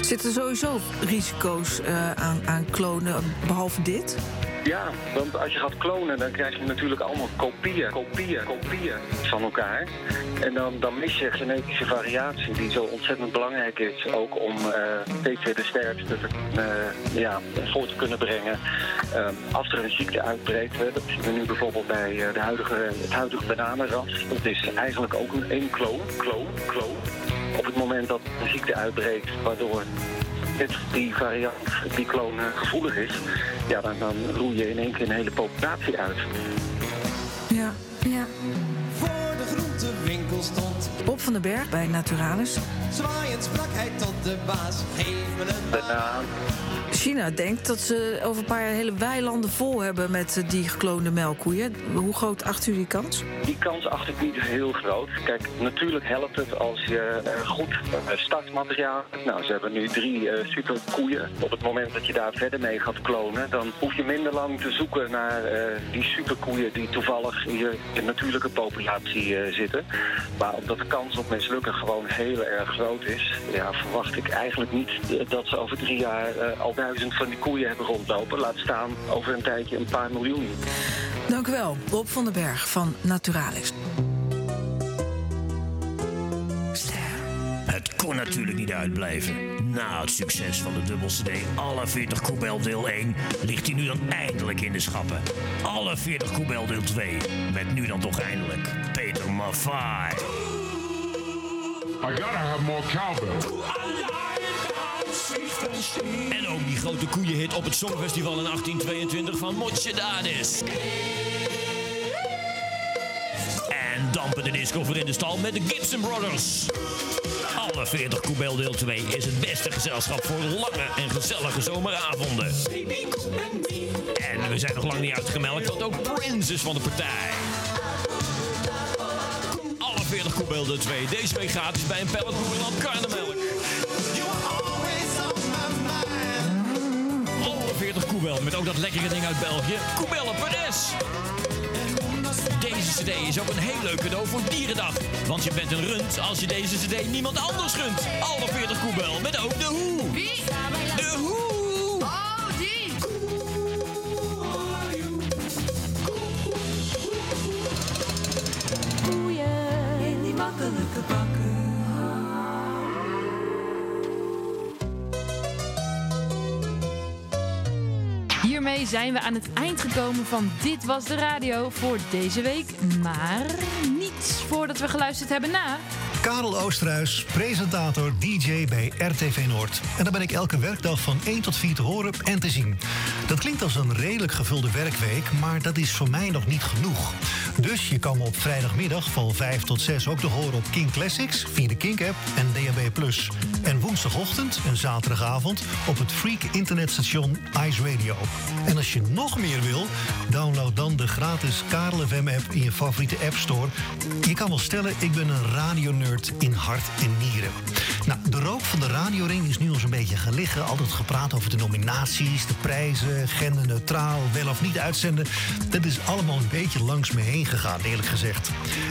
S13: Zitten sowieso risico's eh, aan, aan klonen, behalve dit?
S10: Ja, want als je gaat klonen, dan krijg je natuurlijk allemaal kopieën, kopieën, kopieën van elkaar. En dan, dan mis je genetische variatie, die zo ontzettend belangrijk is. Ook om eh, steeds weer de sterkste te, eh, ja, voor te kunnen brengen. Ehm, als er een ziekte uitbreekt, hè, dat zien we nu bijvoorbeeld bij eh, de huidige, het huidige bananenras. Dat is eigenlijk ook een één kloon, kloon, kloon. Op het moment dat een ziekte uitbreekt, waardoor net die variant, die kloon eh, gevoelig is, ja, dan, dan roei je in één keer een hele populatie uit.
S13: Ja. ja.
S8: Voor de groentewinkel stond.
S13: Bob van den Berg bij Naturalis.
S8: Zwaaiend sprak hij tot de baas. Geef me een
S10: banaan.
S13: China denkt dat ze over een paar jaar hele weilanden vol hebben met eh, die gekloonde melkkoeien. Hoe groot acht u die kans?
S10: Die kans acht ik niet heel groot. Kijk, natuurlijk helpt het als je eh, goed eh, startmateriaal hebt. Nou, ze hebben nu drie eh superkoeien. Op het moment dat je daar verder mee gaat klonen, dan hoef je minder lang te zoeken naar eh, die superkoeien die toevallig in je in natuurlijke populatie eh, zitten. Maar omdat de kans op mislukken gewoon heel erg groot is, ja, verwacht ik eigenlijk niet eh, dat ze over drie jaar eh, al duizend van die koeien hebben rondlopen. Laat staan over een tijdje een paar miljoen.
S13: Dank u wel, Bob van den Berg van Naturalis.
S31: Het kon natuurlijk niet uitblijven. Na het succes van de dubbel CD Alle 40 Koebel deel 1 ligt hij nu dan eindelijk in de schappen. Alle 40 Koebel deel 2 met nu dan toch eindelijk Peter Maffay.
S8: I gotta have more cowbell.
S31: En ook die grote koeienhit op het Songfestival in 1822 van Motjedadis. En dampen de disco voor in de stal met de Gibson Brothers. Alle 40 Koebel deel 2 is het beste gezelschap voor lange en gezellige zomeravonden. En we zijn nog lang niet uitgemelkt, want ook Prince is van de partij. Alle 40 Koebel deel 2 deze week gratis bij een pallet Koemeland Karnemelk. Alle 40 Koebel met ook dat lekkere ding uit België, Koebellen Perez. Deze Deze cd is ook een heel leuk cadeau voor Dierendag. Want je bent een rund als je deze cd niemand anders gunt. Alle 40 koebel met ook de hoe. Wie? De hoe.
S8: Oh, die.
S14: koeien in die makkelijke bakken.
S16: Hiermee zijn we aan het eind gekomen van Dit Was De Radio voor deze week. Maar niets voordat we geluisterd hebben na.
S33: Karel Oosterhuis, presentator, DJ bij RTV Noord. En daar ben ik elke werkdag van 1 tot 4 te horen en te zien. Dat klinkt als een redelijk gevulde werkweek, maar dat is voor mij nog niet genoeg. Dus je kan me op vrijdagmiddag van 5 tot 6 ook te horen op King Classics via de Kink-app en DAB+. En woensdagochtend en zaterdagavond op het Freak internetstation Ice Radio. En als je nog meer wil, download dan de gratis Karel FM-app in je favoriete App Store. Je kan wel stellen, ik ben een radionerd in hart en nieren. Nou, de rook van de radioring is nu ons een beetje gaan liggen. Altijd gepraat over de nominaties, de prijzen, genderneutraal, wel of niet uitzenden. Dat is allemaal een beetje langs me heen gegaan, eerlijk gezegd.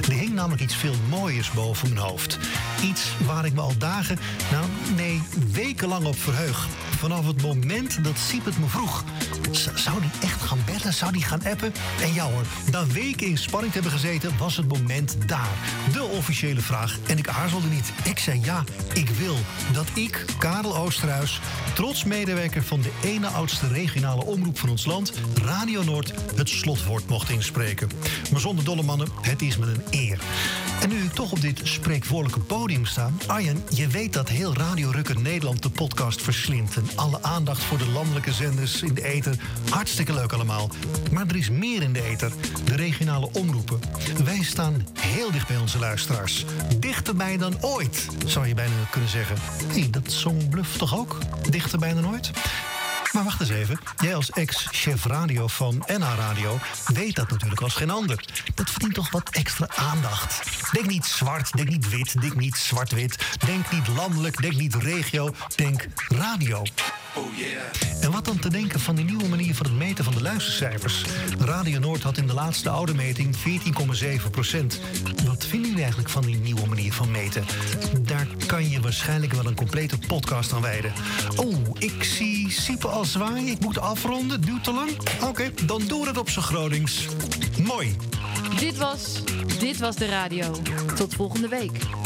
S33: Er hing namelijk iets veel mooiers boven mijn hoofd. Iets waar ik me al dagen, nou nee, wekenlang op verheug. Vanaf het moment dat Siep het me vroeg. Z- zou die echt gaan bellen? Zou die gaan appen? En ja hoor, na weken in spanning te hebben gezeten, was het moment daar. De officiële vraag. En ik aarzelde niet. Ik zei ja, ik wil dat ik, Karel Oosterhuis, trots medewerker van de ene oudste regionale omroep van ons land, Radio Noord, het slotwoord mocht inspreken. Maar zonder dolle mannen, het is me een eer. En nu ik toch op dit spreekwoordelijke podium sta, Arjen, je weet dat heel Radio Rukker Nederland de podcast verslindt. En alle aandacht voor de landelijke zenders in de ether. Hartstikke leuk allemaal. Maar er is meer in de ether. De regionale omroepen. Wij staan heel dicht bij onze luisteraars. Dichterbij dan ooit, zou je bijna kunnen zeggen. Hé, hey, dat zong Bluff toch ook? Dichterbij dan ooit? Maar wacht eens even. Jij als ex-chef radio van NH Radio weet dat natuurlijk als geen ander. Dat verdient toch wat extra aandacht. Denk niet zwart, denk niet wit, denk niet zwart-wit. Denk niet landelijk, denk niet regio, denk radio.
S2: Oh,
S33: En wat dan te denken van die nieuwe manier van het meten van de luistercijfers? Radio Noord had in de laatste oude meting 14,7 Wat vinden jullie eigenlijk van die nieuwe manier van meten? Daar kan je waarschijnlijk wel een complete podcast aan wijden. Oh, ik zie Siepe al zwaaien. Ik moet afronden. Duurt te lang? Oké, dan doe het op zijn Gronings. Mooi.
S16: Dit was Dit Was De Radio. Tot volgende week.